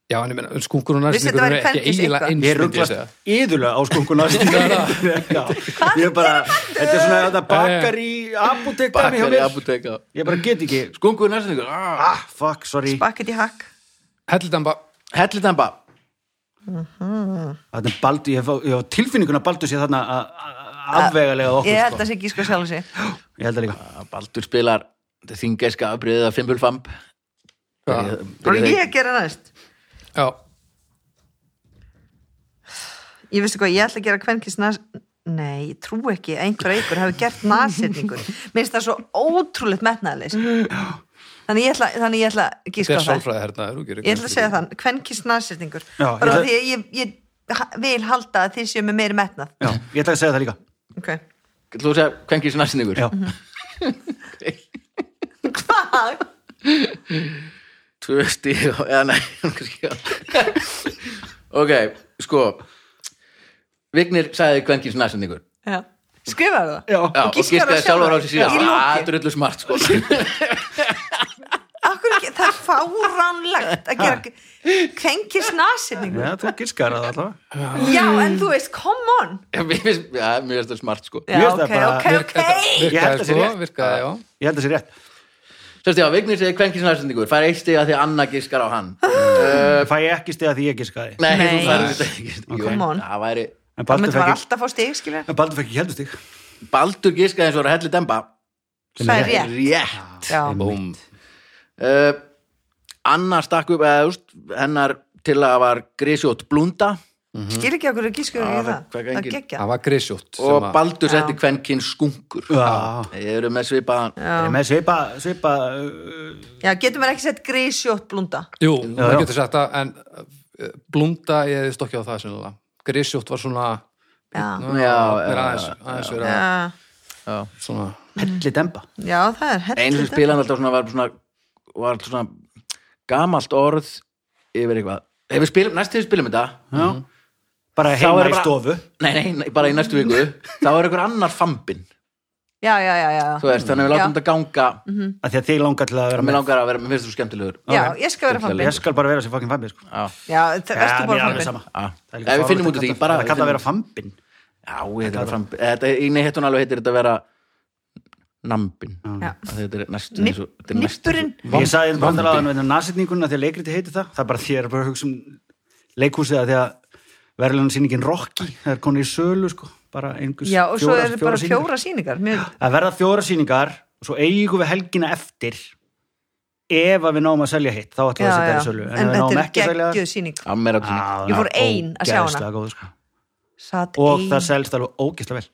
Speaker 2: Já, en ég meina, skungur og
Speaker 4: Vissi þetta
Speaker 2: nærsningur
Speaker 4: væri
Speaker 2: er ekki
Speaker 4: kvenkins
Speaker 2: eiginlega
Speaker 4: eitthvað?
Speaker 2: eins
Speaker 3: Ég
Speaker 2: myndi segja.
Speaker 3: rugglast yðurlega á skunkuna Já, Ég er bara Þetta er svona þetta bakar í apotek dæmi hjá
Speaker 1: bakkar Eh, í
Speaker 3: mér.
Speaker 1: apoteka
Speaker 3: Ég bara get ekki
Speaker 1: Skungur næstingur ah.
Speaker 3: Ah, fuck, sorry
Speaker 4: Bakket í hakk
Speaker 2: Helldamba,
Speaker 1: Helli demba
Speaker 3: Þetta er baldu, ég hef- ég hef á tilfinninguna baldu sér þarna að- að- afvegalega okkur
Speaker 4: Ég held að
Speaker 3: sko.
Speaker 4: það sé ekki sko sjálf sig
Speaker 3: Ég held að líka
Speaker 1: Baldur spilar þingeska afbreiðið af fimbulfamb
Speaker 2: Já.
Speaker 4: Og ég að gera næst
Speaker 2: já,
Speaker 4: Ég veistu hvað, ég ætla að gera kvenkins nas Nei, ég trú ekki að einhver eikur hafi gert nasirningur Minnst það svo ótrúlegt metnaðalis Þannig ég ætla, þannig ég ætla að
Speaker 2: þetta
Speaker 4: gíska
Speaker 2: er
Speaker 4: á það
Speaker 2: sálfræði hérna þú gerir
Speaker 4: Ég ætla
Speaker 2: grein
Speaker 4: að segja
Speaker 2: fyrir
Speaker 4: þann, kvenkins nasirningur
Speaker 3: Já, ég
Speaker 4: Bara
Speaker 3: ætla-
Speaker 4: því að ég, ég ha- vil halda að þið séu með meiri metnað
Speaker 3: Já, ég ætla að segja það líka
Speaker 4: okay.
Speaker 1: Þú segja kvenkis næstingur
Speaker 3: Já,
Speaker 4: Mhm. Hvað?
Speaker 1: Tvö stíð Eða nei kannski ekki. Ok, sko Vignir sagði kvenkins næstingur
Speaker 4: Já. Skrifaðu það?
Speaker 3: já,
Speaker 1: Já, og giskaði sjálfur á sig síðan
Speaker 4: Í
Speaker 1: Það
Speaker 4: loki
Speaker 1: er öllu smart sko Já,
Speaker 4: Akkur, ekki- Það er fáránlegt að gera kvenkins nasirningur
Speaker 3: já þú giskar það allavega
Speaker 4: Já, en þú veist, come on
Speaker 1: Mér finnst já, mér finnst það smart sko
Speaker 4: Já,
Speaker 3: Mér
Speaker 4: ok,
Speaker 3: finnst það bara-
Speaker 4: ok,
Speaker 2: Virk- þetta
Speaker 4: ok
Speaker 3: Ég held að
Speaker 2: Virkaði
Speaker 3: sé
Speaker 2: sko,
Speaker 3: rétt.
Speaker 2: virkaði, já
Speaker 3: Ég held að sé rétt
Speaker 1: Sérst, já, Vignir segir kvenkins næstingur Fær eitt stig að því Anna giskar á hann uh,
Speaker 3: Fæ ég ekki stiga því ég giskaði
Speaker 1: Nei,
Speaker 4: Mm. Nei.
Speaker 1: þú færði þetta ekki Jú,
Speaker 4: Come on.
Speaker 1: Það væri
Speaker 3: En
Speaker 4: Það
Speaker 3: baldu
Speaker 4: myndi maður
Speaker 3: fekk
Speaker 4: alltaf fá stig, skilja
Speaker 3: ekki Baldur fekk ekki heldur stig
Speaker 1: Baldur giskaði eins og var að helli demba
Speaker 4: Það er rétt
Speaker 1: Rétt
Speaker 4: Já,
Speaker 3: Mhm.
Speaker 2: Búm,
Speaker 1: uh, Anna stakk upp eða, úst, hennar til að var grisjótt blunda
Speaker 4: skil ekki okkur að gísku
Speaker 1: Já,
Speaker 4: ekki
Speaker 1: það- hvað
Speaker 4: það, það
Speaker 1: gengir?
Speaker 4: gekkja
Speaker 2: það var grisjótt
Speaker 1: og Baldur setti
Speaker 4: Já.
Speaker 1: kvenkin skunkur
Speaker 3: Já.
Speaker 1: Þeir eru með svipaðan
Speaker 3: Það er
Speaker 4: já.
Speaker 3: með svipa, svipa uh,
Speaker 4: já, getur maður ekki sett grísjótt blunda
Speaker 2: Jú,
Speaker 3: já.
Speaker 2: maður getur sagt það en eh, blunda ég hefði stokkja á það sennilega grisjótt var svona
Speaker 4: já,
Speaker 2: Ná,
Speaker 1: Já,
Speaker 2: er
Speaker 1: já,
Speaker 2: aðeins, aðeins vera
Speaker 4: já,
Speaker 2: svona
Speaker 3: helli demba
Speaker 4: já það er hellu
Speaker 1: einu sem spilaði alltaf svona var svona, var svona gamalt orð yfir eitthvað Ef við spilum, næst þegar við spilum þetta
Speaker 3: Já. bara
Speaker 1: Þá
Speaker 3: heima
Speaker 1: er
Speaker 3: í
Speaker 1: bara-
Speaker 3: stofu
Speaker 1: nei, nei, nei, bara í næstu viku þá er einhver annar fambin
Speaker 4: já, já, já, já.
Speaker 1: þú veist, þannig að við látum
Speaker 4: Já. Mhm.
Speaker 1: þetta ganga
Speaker 3: að því að þig langar til að vera
Speaker 1: mér
Speaker 3: með
Speaker 1: langar að vera, mér finnst þú skemmtilegur
Speaker 4: já, ég skal vera
Speaker 1: Fulla
Speaker 4: fambin
Speaker 1: leið.
Speaker 3: ég skal bara vera sem fucking fambin sko.
Speaker 1: Já,
Speaker 4: já,
Speaker 3: Já, mér
Speaker 4: það erstu
Speaker 3: er
Speaker 4: bara
Speaker 3: alveg
Speaker 4: fambin
Speaker 3: sama.
Speaker 1: já.
Speaker 3: Það er líka
Speaker 1: ef við
Speaker 3: fáránlegt
Speaker 1: finnum út
Speaker 3: að
Speaker 1: úr því
Speaker 3: kalla-
Speaker 1: bara,
Speaker 3: að kalla að vera fambin
Speaker 1: já, ég heitir fambin þetta, í neihettunalveg heitir þetta vera nambin
Speaker 4: Já.
Speaker 3: Mm.
Speaker 1: Að þetta er næstu eins og- þetta er næstum eins
Speaker 4: nippurinn
Speaker 1: og-
Speaker 3: ég sagði um þetta bara alveg að nasetninguna því að leikriti heiti það það er bara því að ég er bara að hugsa um leikhúsið að því að verðlunum sýningin Rocky það er konið í sölu sko bara einhvers
Speaker 4: já, og svo
Speaker 3: fjórar-
Speaker 4: eru bara
Speaker 3: sýningar.
Speaker 4: fjóra síningar mjög
Speaker 3: að verða fjóra síningar og svo eigum við helgina eftir ef að við náum að selja hitt þá ætlum við
Speaker 4: já,
Speaker 3: að setja
Speaker 4: já.
Speaker 3: það í sölu en,
Speaker 4: en
Speaker 3: ef við náum
Speaker 4: þetta er
Speaker 3: ekki að selja
Speaker 4: geggjöð síning
Speaker 1: Já, meira til
Speaker 3: á,
Speaker 4: Ég fór ein að sjá hana.
Speaker 3: góð, sko.
Speaker 4: satt
Speaker 3: og
Speaker 4: ein
Speaker 3: það selst alveg ógeðslega vel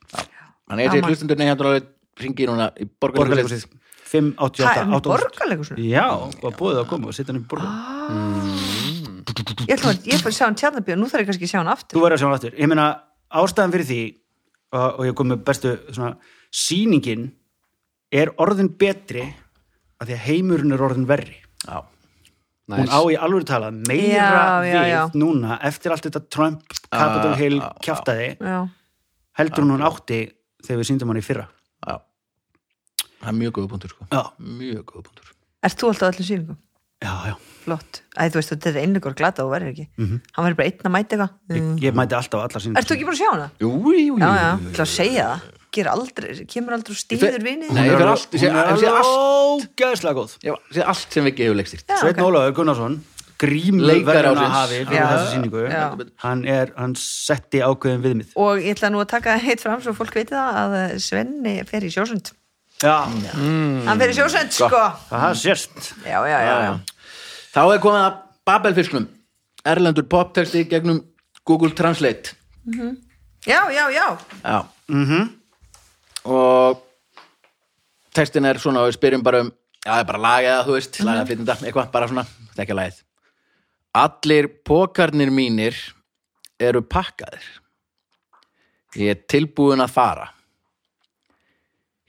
Speaker 1: Þannig að ég
Speaker 4: Gaman.
Speaker 1: hlustundur neihettunalveg ringi núna í borgarleikusið
Speaker 3: borgarleikusið 5,
Speaker 4: um
Speaker 3: 88,
Speaker 4: borgarleikur svona
Speaker 3: já, og búið að koma og setja hann í borgar
Speaker 4: ég ætla að ég fór að sjá hann tjarnabíð og nú þarf ég kannski að sjá hann aftur
Speaker 3: þú verður að sjá hann aftur ég meina ástæðan fyrir því og, og ég kom með bestu svona sýningin er orðin betri af því að heimurinn er orðin verri
Speaker 1: Já,
Speaker 3: hún á í alvöru talað meira
Speaker 4: Já, já,
Speaker 3: við
Speaker 4: já.
Speaker 3: núna eftir allt þetta Trump, Capitol
Speaker 1: Ah,
Speaker 3: Hill
Speaker 1: ah,
Speaker 3: kjaftaði,
Speaker 4: já,
Speaker 3: heldur hún hún átti þegar við síndum hann í fyrra
Speaker 1: já Það er mjög góða punktur sko
Speaker 3: já,
Speaker 1: Mjög góða punktur
Speaker 4: ert þú alltaf á öllum síningum?
Speaker 3: já, já,
Speaker 4: flott, Æ, þú veist þetta er einlegur glata og verður ekki, hann verður bara einn að mæta eitthvað
Speaker 3: ég, ég mæti alltaf á alla sínum
Speaker 4: ert þú Mm. ekki búin að sjá hana?
Speaker 1: Jú, jú, jú,
Speaker 4: já, já,
Speaker 1: jú, jú.
Speaker 4: ætla að segja það Ger aldrei, kemur aldrei og stýður vinið
Speaker 1: Nei, ég fer allt- ég sé-
Speaker 3: hún er
Speaker 1: ég sé
Speaker 3: alveg
Speaker 1: allt-
Speaker 3: ógeðslega góð
Speaker 1: Ég sé allt sem við gefum leikstýrt
Speaker 4: Já,
Speaker 3: Sveinn
Speaker 4: ok.
Speaker 3: Ólaður Gunnarsson
Speaker 1: Leikari
Speaker 3: grímleikverðuna
Speaker 1: ársins.
Speaker 3: hafi fyrir
Speaker 4: Já.
Speaker 3: þessa sýningu
Speaker 4: Já.
Speaker 3: hann, er, hann setti ákveðin viðmið
Speaker 4: og ég ætla nú að taka heitt fram svo fólk veit það að eh, Svenni fer í sjósund
Speaker 3: já,
Speaker 4: hann fer í sjósund sko
Speaker 3: það sést
Speaker 4: já, já, já,
Speaker 1: Ah,
Speaker 4: já.
Speaker 1: Þá er komið að Babelfisknum Erlendur poptexti gegnum Google Translate
Speaker 4: já, já, já,
Speaker 1: Já Mhm. Og textin er svona og við spyrjum bara um Já, það er bara lagið það, þú veist, lagið að fyrtinda eitthvað, bara svona, þekkja lagið Allir pokarnir mínir eru pakkaðir Ég er tilbúin að fara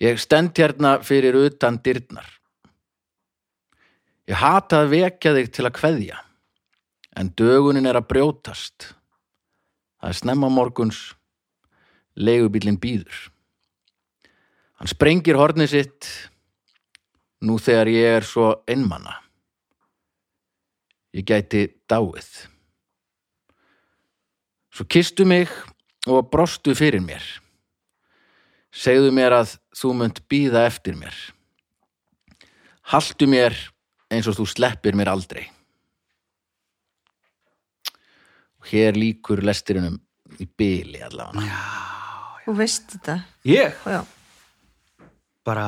Speaker 1: Ég stend hérna fyrir utan dyrnar Ég hata að vekja þig til að kveðja En dögunin er að brjótast Það er snemma morguns leigubílinn býður. Hann sprengir hornið sitt nú þegar ég er svo einmana. Ég gæti dáið. Svo kistu mig og brostu fyrir mér. Segðu mér að þú munt býða eftir mér. Haltu mér eins og þú sleppir mér aldrei. Og hér líkur lestirinnum í byli allavega.
Speaker 4: þú veist þetta
Speaker 3: ég
Speaker 4: já,
Speaker 3: bara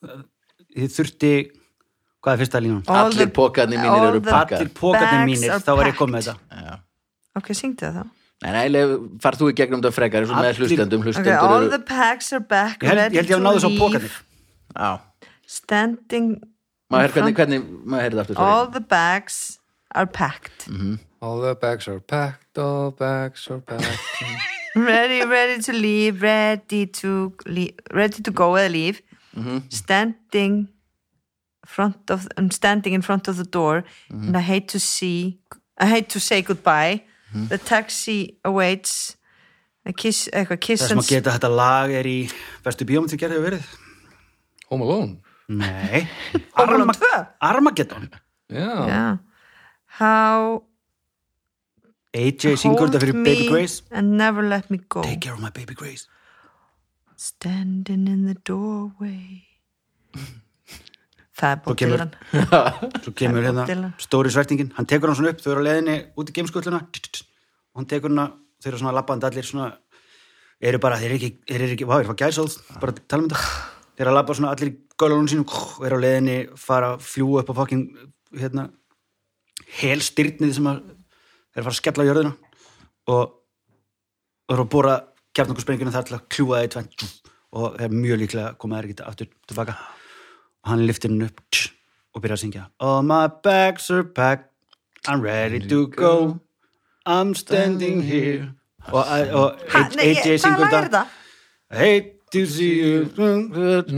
Speaker 3: eh, ég þurfti hvað er fyrsta línan?
Speaker 4: All
Speaker 1: Allir
Speaker 4: the-
Speaker 1: pókarnir mínir
Speaker 4: all
Speaker 1: eru
Speaker 4: the-
Speaker 1: pakkar
Speaker 3: allir pókarnir
Speaker 4: Bags
Speaker 3: mínir,
Speaker 4: are
Speaker 3: þá var ég komið með
Speaker 4: packed.
Speaker 3: þetta
Speaker 4: ok, syngdu það þá
Speaker 1: Nei, nei, leif, far þú í gegnum þetta frekar eins og með
Speaker 3: Allir-
Speaker 1: hlustendum
Speaker 4: ok,
Speaker 1: hlustendur
Speaker 4: all
Speaker 1: eru,
Speaker 4: the packs are back
Speaker 3: ég held ég, held ég að náðu svo pókarnir
Speaker 1: á,
Speaker 4: standing
Speaker 1: maður heyrði hvernig, hvernig maður heyrði aftur
Speaker 4: all
Speaker 1: all...
Speaker 4: the bags are packed
Speaker 3: Mm-hmm.
Speaker 2: all the bags are packed all bags are packed
Speaker 4: ready, ready to leave ready to leave, ready to go eða leave
Speaker 3: Mm-hmm.
Speaker 4: standing front of I'm standing in front of the door
Speaker 3: Mm-hmm.
Speaker 4: and I hate to see I hate to say goodbye
Speaker 3: Mm-hmm.
Speaker 4: the taxi awaits a kiss, eitthvað kiss
Speaker 3: þess
Speaker 4: and
Speaker 3: maður geta að þetta lag er í bestu bíómynd sem gerði hefur verið
Speaker 2: Home Alone
Speaker 3: Nei
Speaker 4: Home
Speaker 3: Arma-
Speaker 4: Alone 2?
Speaker 3: Armageddon
Speaker 2: já,
Speaker 4: yeah. how
Speaker 3: AJ syngur þetta fyrir Baby Grace
Speaker 4: and never let me go
Speaker 3: Take care of my Baby Grace
Speaker 4: standing in the doorway það er
Speaker 3: Svo
Speaker 4: Bob
Speaker 3: kemur-
Speaker 4: Dylan
Speaker 3: Svo kemur
Speaker 4: Bob
Speaker 3: hérna
Speaker 4: Dylan.
Speaker 3: stóri svertingin Hann tekur hann svona upp, þau eru á leiðinni út í geimskulluna og hann tekur hann þau eru svona labbandi allir svona eru bara, þeir eru ekki, þeir eru ekki, vá, þeir eru gæsóð bara tala um þetta, þeir eru að labba svona allir í gölunum sínum, eru á leiðinni fara að fljú upp á fokkin hérna, helstyrnið sem að þeir eru að fara að skella á jörðina og og eru að bóra kjarnokkursprengjuna þar til að kljúa það í tvennt og er mjög líklega að koma þær ekki aftur tilbaka og hann liftir hann upp tss, og byrjar að syngja All my bags are packed I'm ready to go I'm standing here og, og
Speaker 4: Ha, nei, ég-
Speaker 3: AJ
Speaker 4: hvaða
Speaker 3: syngur
Speaker 4: lag er
Speaker 3: þetta
Speaker 4: þetta?
Speaker 3: Hate to see you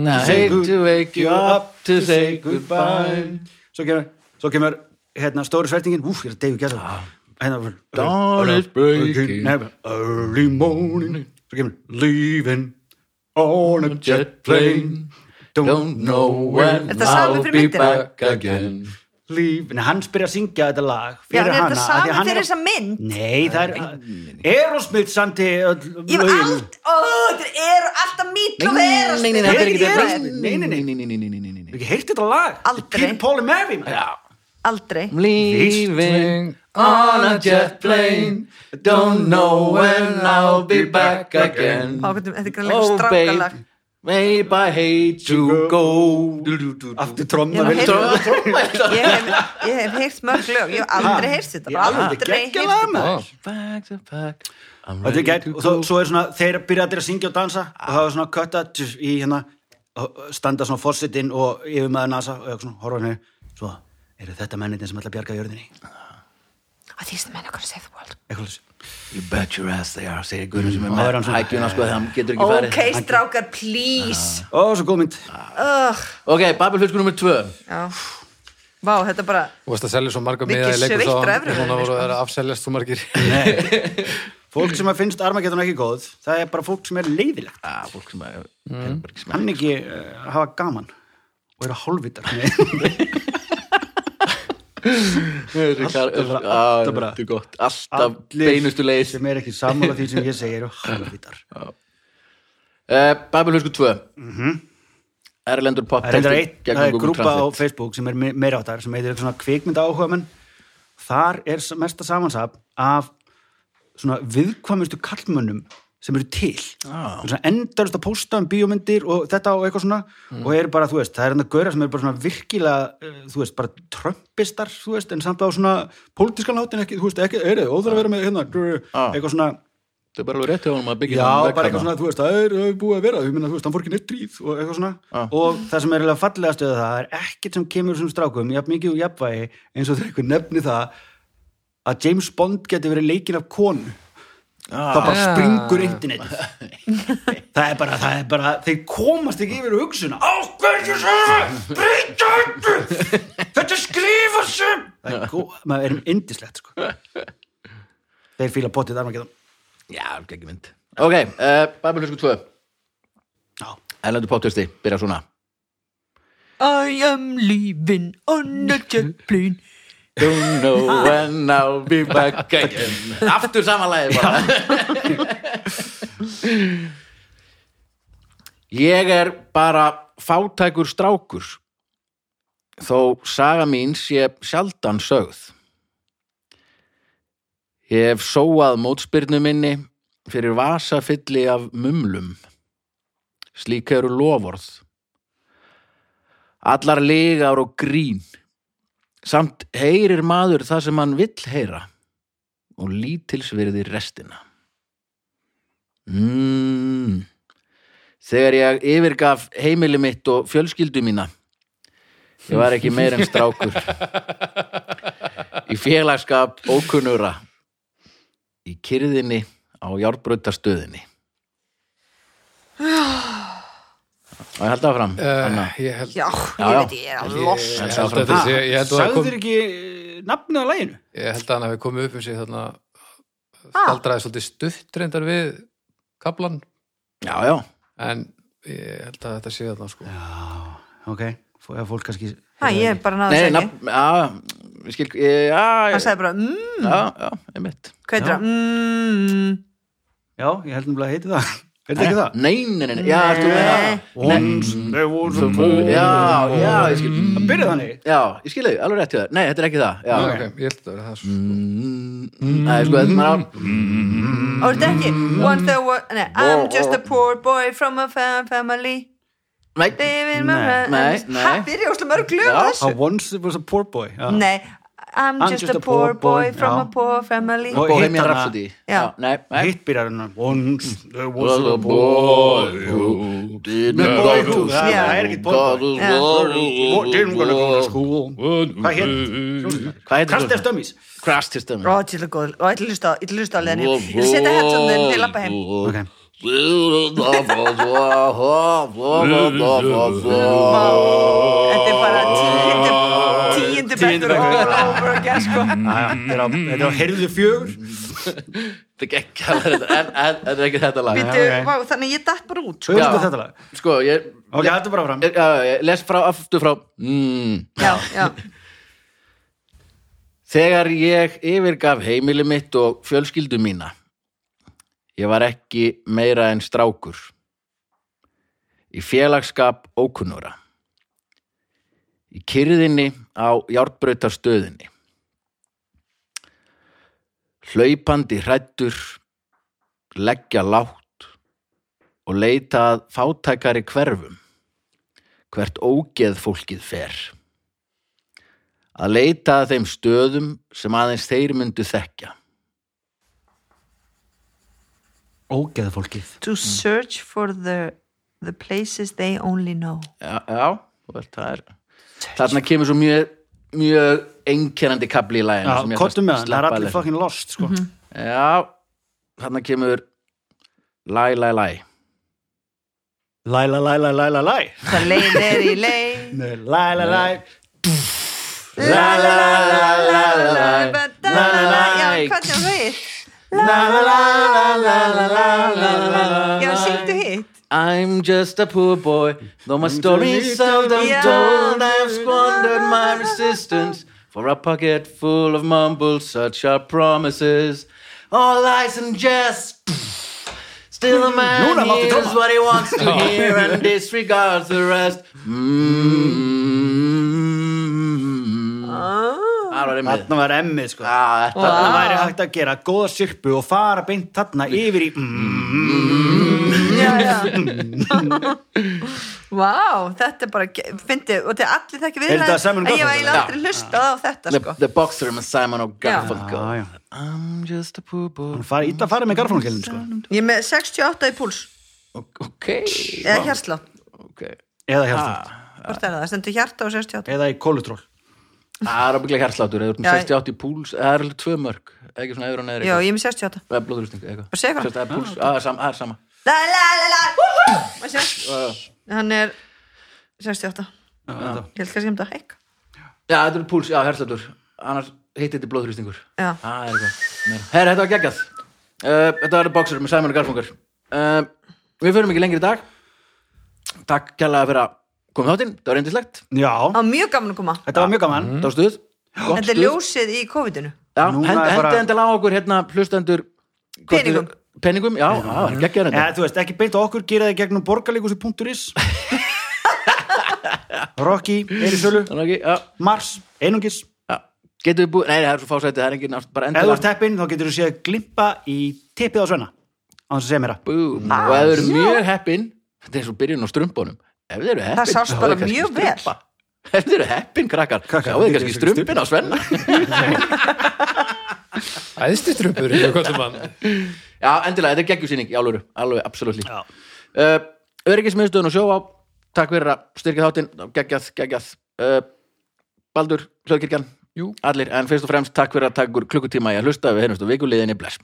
Speaker 1: I hate to wake you up to say goodbye
Speaker 3: Svo kemur, svo kemur hérna, stóri svertingin, úf, ég er að deyju gæsa hérna,
Speaker 1: Ah. Dawn is breaking.
Speaker 3: Early morning Svo kemur, leaving on a jet plane
Speaker 1: Don't know when
Speaker 4: Þetta sama
Speaker 1: I'll
Speaker 4: fyrir
Speaker 1: be
Speaker 4: myndina.
Speaker 1: back again
Speaker 3: leaving Nei, hans byrja að syngja þetta lag
Speaker 4: Já,
Speaker 3: fyrir
Speaker 4: en er
Speaker 3: hana
Speaker 4: þetta
Speaker 3: af því að
Speaker 4: saman
Speaker 3: hann
Speaker 4: fyrir
Speaker 3: er-
Speaker 4: þessa mynd?
Speaker 3: Nei, það er Erosmith samti
Speaker 4: Ég var allt, ó, þetta er alltaf mítl og
Speaker 1: Nei,
Speaker 4: vera
Speaker 1: nei, nei,
Speaker 3: þetta er
Speaker 1: nei,
Speaker 3: ekki
Speaker 1: nei,
Speaker 3: það.
Speaker 1: nei, nei, nei, nei, nei, nei, nei, nei, nei, nei.
Speaker 3: Ekki heyrt þetta lag
Speaker 4: Aldrei.
Speaker 3: Peter, Paul and Mary man.
Speaker 4: Aldrei
Speaker 1: Leaving on a jet plane Don't know when I'll be back again
Speaker 4: Ó, hvernig- þetta er greinlega
Speaker 1: Oh babe,
Speaker 4: strákalag.
Speaker 1: babe I hate to go
Speaker 3: Aftur
Speaker 4: Ég
Speaker 3: tromma
Speaker 4: hef
Speaker 3: viltu-
Speaker 4: heyrt- Ég hef- ég hef heyrt mörg lög, Ah. ég hef aldrei heyrt þetta
Speaker 3: Ég
Speaker 4: bara
Speaker 3: alveg, þetta
Speaker 4: aldrei heyrt
Speaker 3: geggjað lag,
Speaker 4: þetta
Speaker 3: maður.
Speaker 2: Ó.
Speaker 1: Back to back I'm
Speaker 3: Þetta
Speaker 1: ready
Speaker 3: er gegn,
Speaker 1: to
Speaker 3: og þó,
Speaker 1: go
Speaker 3: svo er svona, þeir byrja allir að syngja og dansa og það er svona kötta tjus, í hérna og standa svona fórsettinn og yfir maður NASA og eitthvað svona, horfa henni svo, eru þetta mennitin sem ætla að bjarga jörðinni
Speaker 4: Og því sem menn okkur save the world
Speaker 3: eitthvað leys
Speaker 1: You bet your ass they are segir Guðrún sem er
Speaker 3: Mm, áður
Speaker 1: með
Speaker 3: en svona-
Speaker 1: hækjuna sko þegar hann getur ekki farið
Speaker 4: Ok, strákar, please
Speaker 3: og svo góð mynd,
Speaker 4: Ugh,
Speaker 1: Ok, Babelfusku nummer 2
Speaker 4: já. Vá, þetta bara
Speaker 2: Þú varst að selja svo marga
Speaker 4: Mikið
Speaker 2: miða í leikur
Speaker 4: sveittur
Speaker 2: þá
Speaker 4: efri
Speaker 2: núna
Speaker 4: vörinni,
Speaker 2: voru að afseljast svo margir
Speaker 3: fólk sem að finnst armagetan ekki góð, það er bara fólk sem er leiðilegt
Speaker 1: Ah, fólk sem að mm. sem
Speaker 3: hann ekki uh, hafa gaman og eru hálfvitar Nei, bara-
Speaker 1: Alltaf
Speaker 3: alltaf bara-
Speaker 1: Ah, Þetta er gott Alltaf beinustu leið
Speaker 3: sem er ekki sammála því sem ég segi eru hálfvitar
Speaker 1: uh, Babelfusku 2 Erlendur pop
Speaker 3: Það er reyndar
Speaker 1: texti
Speaker 3: eitt,
Speaker 1: gegnum
Speaker 3: Mhm. það er
Speaker 1: Google
Speaker 3: grúpa á
Speaker 1: Translate.
Speaker 3: Facebook sem er me- meira áttar, sem heitir svona kvikmynda áhugamenn. Þar er s- mesta samansap af svona viðkvæmustu kallmönnum sem eru til.
Speaker 1: Ah.
Speaker 3: Svona endarust að pósta um bíómyndir og þetta og eitthvað svona
Speaker 1: Mm.
Speaker 3: og eru bara, þú veist, það er enda gauðra sem eru bara svona virkilega, eh, þú veist, bara trömpistar, þú veist, en samt á svona pólitískan látin ekki, þú veist, ekki, er þið, óþar að vera með hérna, drr,
Speaker 1: Ah.
Speaker 3: eitthvað svona
Speaker 1: Þetta er bara alveg rétt hjá honum að byggja
Speaker 3: Já,
Speaker 1: þennan
Speaker 3: bara
Speaker 1: vegg
Speaker 3: eitthvað
Speaker 1: þarna.
Speaker 3: svona, þú veist, það er það er búið að vera, þú minna, þú veist, hann fór ekki neitt dríð og eitthvað svona,
Speaker 1: Ah.
Speaker 3: og það sem er eiginlega fallega stöðu það, er ekkert sem kemur sem strákum, jafn mikið og jafnvægi, eins og þegar eitthvað nefni það að James Bond geti verið leikinn af konu
Speaker 1: Ah.
Speaker 3: það bara
Speaker 2: Ah.
Speaker 3: springur internetið það er bara, það er bara þeir komast ekki yfir hugsun á hverju sem, breyta öllu þetta skrifa sem það er góð, maður erum indislegt sko. þeir fíla bóttið þar maður
Speaker 1: Já, ekki mynd Ok, uh, Babelfusku 2
Speaker 3: Já.
Speaker 1: Erlendur pop texti byrja svona
Speaker 4: I am leaving on a jet plane
Speaker 1: Don't know when I'll be back again Aftur samanlæði bara Ég er bara fátækur strákur þó saga mín sé sjaldan sögð Ég hef sóað mótspyrnu minni fyrir vasafylli af mumlum Slík eru loforð Allar lygar og grín Samt heyrir maður það sem hann vill heyra og lítilsverði restina. Mm. Þegar ég yfirgaf heimili mitt og fjölskyldu mína, ég var ekki meir en strákur. Í félagskap ókunnura, í kyrðinni á járbrautastöðinni. Og ég held áfram. Anna.
Speaker 2: Eh, Ég held
Speaker 4: Já,
Speaker 1: Já,
Speaker 4: ég
Speaker 1: já.
Speaker 4: veit, ég er að lost
Speaker 2: Ég
Speaker 1: Sagði
Speaker 2: held að
Speaker 1: frá-
Speaker 2: þetta sé- ég held að það kom-
Speaker 3: sagður ekki eh, nafnið á læginu
Speaker 2: ég held að hann hafi komið upp um sig þarna
Speaker 4: Ah.
Speaker 2: staldraði svolítið stutt reyndar við kaplan
Speaker 1: Já, já.
Speaker 2: en ég held að þetta sé þarna sko
Speaker 3: ok, F- ef fólk kannski
Speaker 4: Hæ, ég er bara náðu
Speaker 1: Nei,
Speaker 4: að segja
Speaker 1: nafn, já, ég skil, ég- já,
Speaker 4: Hann
Speaker 1: ég-
Speaker 4: sagði bara, mmm,
Speaker 1: já, já, einmitt.
Speaker 4: hvað heitir
Speaker 3: Já.
Speaker 4: það? Mmm,
Speaker 3: já, ég held nefnilega að heiti það er þetta ekki það?
Speaker 1: Nei, nei, nei, nei. já, ertu með
Speaker 4: Nei.
Speaker 1: það
Speaker 3: Once there was a moon
Speaker 1: Já, já, ég skil
Speaker 3: það byrjaði þannig
Speaker 1: Já, ég skil þau, alveg rétt hjá þér Nei, þetta er ekki það Já,
Speaker 2: Já,
Speaker 1: ok
Speaker 2: ok, ég held að það vera það sko.
Speaker 1: Nei, sko, þetta er maður á
Speaker 4: og er þetta ekki
Speaker 1: Mm-hmm.
Speaker 4: Once there was, nei, I'm just a poor boy from a fam family
Speaker 1: Nei,
Speaker 4: David
Speaker 3: Nei,
Speaker 4: Murray
Speaker 1: nei, nei.
Speaker 4: Hæ, byrja úrslega mörg lög á
Speaker 1: Já.
Speaker 4: þessu
Speaker 3: a once there was a poor boy já.
Speaker 4: Nei, I'm just, a, poor boy, from a poor family
Speaker 3: Og-
Speaker 1: Bohemian
Speaker 3: hitt hana-
Speaker 1: Rhapsody
Speaker 4: Já.
Speaker 1: nei, nei.
Speaker 3: hitt byrjar hennar once there was
Speaker 1: was
Speaker 3: a
Speaker 1: a boy who didn't
Speaker 3: Með
Speaker 1: go
Speaker 3: boy
Speaker 1: to
Speaker 3: who, það-
Speaker 1: school.
Speaker 3: það er ekkert boy who.
Speaker 1: God was
Speaker 4: Já.
Speaker 1: born-
Speaker 3: didn't gonna go to school hvað hér?
Speaker 1: Hvað heitir
Speaker 3: Kastar
Speaker 1: það?
Speaker 3: stömmis
Speaker 1: Crash System
Speaker 4: og ég ætla góð- og ég ætla að hlusta á- ég ætla að hlusta á leðinu ég ætla að setja headsonin til að lappa heim
Speaker 3: Ok.
Speaker 4: þetta er bara tíundu
Speaker 3: Tíundi
Speaker 4: tíundu bekkur
Speaker 3: bekkur.
Speaker 4: all over again sko
Speaker 3: þetta er á herðu fjögur
Speaker 1: Þetta er geggjað, þetta- en- en- þetta er ekki þetta lag
Speaker 4: Bíddu,
Speaker 3: ok.
Speaker 4: vá, þannig að ég datt bara út sko.
Speaker 3: Svo er þetta lag
Speaker 1: Sko, ég,
Speaker 3: Ok, þetta bara fram
Speaker 1: ég, já, ég les frá aftur frá mm.
Speaker 4: já, já,
Speaker 1: Þegar ég yfirgaf heimili mitt og fjölskyldu mína, ég var ekki meira en strákur. Í félagskap ókunnura. Í kyrðinni á járnbrautarstöðinni. Hlaupandi hrættur, leggja látt og leita að fátækari hverfum. Hvert ógeð fólkið fer að leita að þeim stöðum sem aðeins þeir myndu þekkja.
Speaker 3: Ógeða fólkið
Speaker 4: to search for the the places they only know
Speaker 1: Já, já þú veist, það er... Þarna
Speaker 3: sko.
Speaker 1: kemur svo mjög, mjög einkennandi kabli í læginu.
Speaker 3: Já,
Speaker 1: sem mér
Speaker 3: kottum með hann,
Speaker 1: fannst
Speaker 3: það er
Speaker 1: sleppa
Speaker 3: allir
Speaker 1: alveg.
Speaker 3: fucking lost sko.
Speaker 4: Mhm.
Speaker 1: Já, þarna kemur læ, læ, læ.
Speaker 3: Læ, læ, læ, læ, læ, læ, læ
Speaker 4: það leið er í leið
Speaker 3: Nei, Læ, læ, læ
Speaker 4: la la la la la la la la la já, hvað sem hitt
Speaker 3: Læ, læ, læ, læ, læ, læ, læ, læ, læ, læ.
Speaker 4: já, syngdu hitt
Speaker 1: I'm just a poor boy, though my story's seldom
Speaker 4: Yeah.
Speaker 1: told. I've squandered my resistance for a pocket full of mumbles, such are promises. All lies and jest. Still the Oh. man
Speaker 3: Núna máttu
Speaker 1: hears
Speaker 3: tóma.
Speaker 1: Hmm, what he wants to hear and disregards the rest. Mm.
Speaker 4: Ah,
Speaker 1: Það var einmitt.
Speaker 3: Þarna var emmið sko
Speaker 1: Já, þetta-
Speaker 3: Þarna væri hægt að gera góða sirpu og fara beint þarna yfir í Mm,
Speaker 4: já, já Vá, þetta er bara fyndi, og þetta er allir þekki við
Speaker 3: Er þetta Simon
Speaker 4: ég var
Speaker 3: Garfunkel?
Speaker 4: eiginlega aldrei hlustað á þetta sko.
Speaker 1: The, the boxer með Simon og Garfunkel.
Speaker 3: Já, já.
Speaker 1: I'm just a poor boy.
Speaker 3: Hún fari illa að mm. fara með garfónukilin sko
Speaker 4: ég er með 68 í púls
Speaker 1: Ok.
Speaker 4: eða hjarsla,
Speaker 1: okay.
Speaker 3: Eða hjartum
Speaker 4: hvort er það, það stendur hjarta og 68
Speaker 3: Eða í kólutról
Speaker 1: Það er ábygglega hjarsláttur, eða þú ert með
Speaker 4: Já,
Speaker 1: 68 í púls, eða það eru alveg tvö mörg, ekki svona yfir og neðri
Speaker 4: já, ég er með 68
Speaker 1: eða blóðrýsting, eitthvað.
Speaker 4: Bara segja eitthvað.
Speaker 1: Sérst, Það er púls, já, það er sama, það er sama.
Speaker 4: la la la la húhú Má sjá? hann er 68 ég held kannski um þetta heik
Speaker 1: Já, þetta er púls, já, hjarsláttur, annars heitir þetta blóðrýstingur.
Speaker 4: Já.
Speaker 1: Það er eitthvað. meira. Herra, þetta var geggjað. Uh, þetta var boxer með Simon og Garfungar. Uh, við förum ekki lengri í dag. Takk kærlega fyrir að koma í þáttinn, það var reyndislegt,
Speaker 3: Já,
Speaker 4: það var mjög gaman að koma
Speaker 3: þetta var mjög gaman
Speaker 1: það var stuð. gott
Speaker 4: þetta er
Speaker 1: stuð.
Speaker 4: ljósið í COVID-inu
Speaker 1: Já,
Speaker 3: Mm. Núna
Speaker 1: hend-
Speaker 3: er bara-
Speaker 1: hendi endilega á okkur, hérna, hlustendur. hvort þið-
Speaker 4: Peningum.
Speaker 1: Peningum, já, já, það er geggjað
Speaker 3: Eða,
Speaker 1: reyndar.
Speaker 3: þú veist, ekki beint á okkur, gera það í gegnum borgarleikusi.is Rocky, er í sölu
Speaker 1: Þannig ekki, já.
Speaker 3: Mars, einungis
Speaker 1: Já, getum við búið, nei, það er svo fásætið, það er engin ást- bara
Speaker 3: Ef þú ert
Speaker 1: endilega
Speaker 3: heppin, þá getur þú séð glimpa í tippið á Svenna á þess að segja mér það
Speaker 1: Búm.
Speaker 4: Ah,
Speaker 1: og ef þau eru mjög heppin þetta er eins og byrjun á strumbunum ef þau eru heppin,
Speaker 4: Það sást
Speaker 1: sjáu
Speaker 4: bara
Speaker 1: þau kannski
Speaker 4: mjög vel.
Speaker 1: strumpa. ef þau eru heppin, krakkar,
Speaker 3: Krakkar,
Speaker 1: sjáu þið
Speaker 3: þið
Speaker 1: kannski
Speaker 3: eru
Speaker 1: strumpin á Svenna
Speaker 2: Æðsti trumpur, ég kvöldum hann
Speaker 1: já, endilega, þetta er geggjusýning, í alvöru alveg, absolutt uh, öryggismiðstöðun og sjóvá takk fyrir að styrkja þáttinn geggjað, geggjað uh, Baldur, Hljóðkirkjan,
Speaker 2: Jú.
Speaker 1: allir en fyrst og fremst takk fyrir að taka ykkur klukkutíma í að hlusta við heyrjumst á vikuliðinni, bless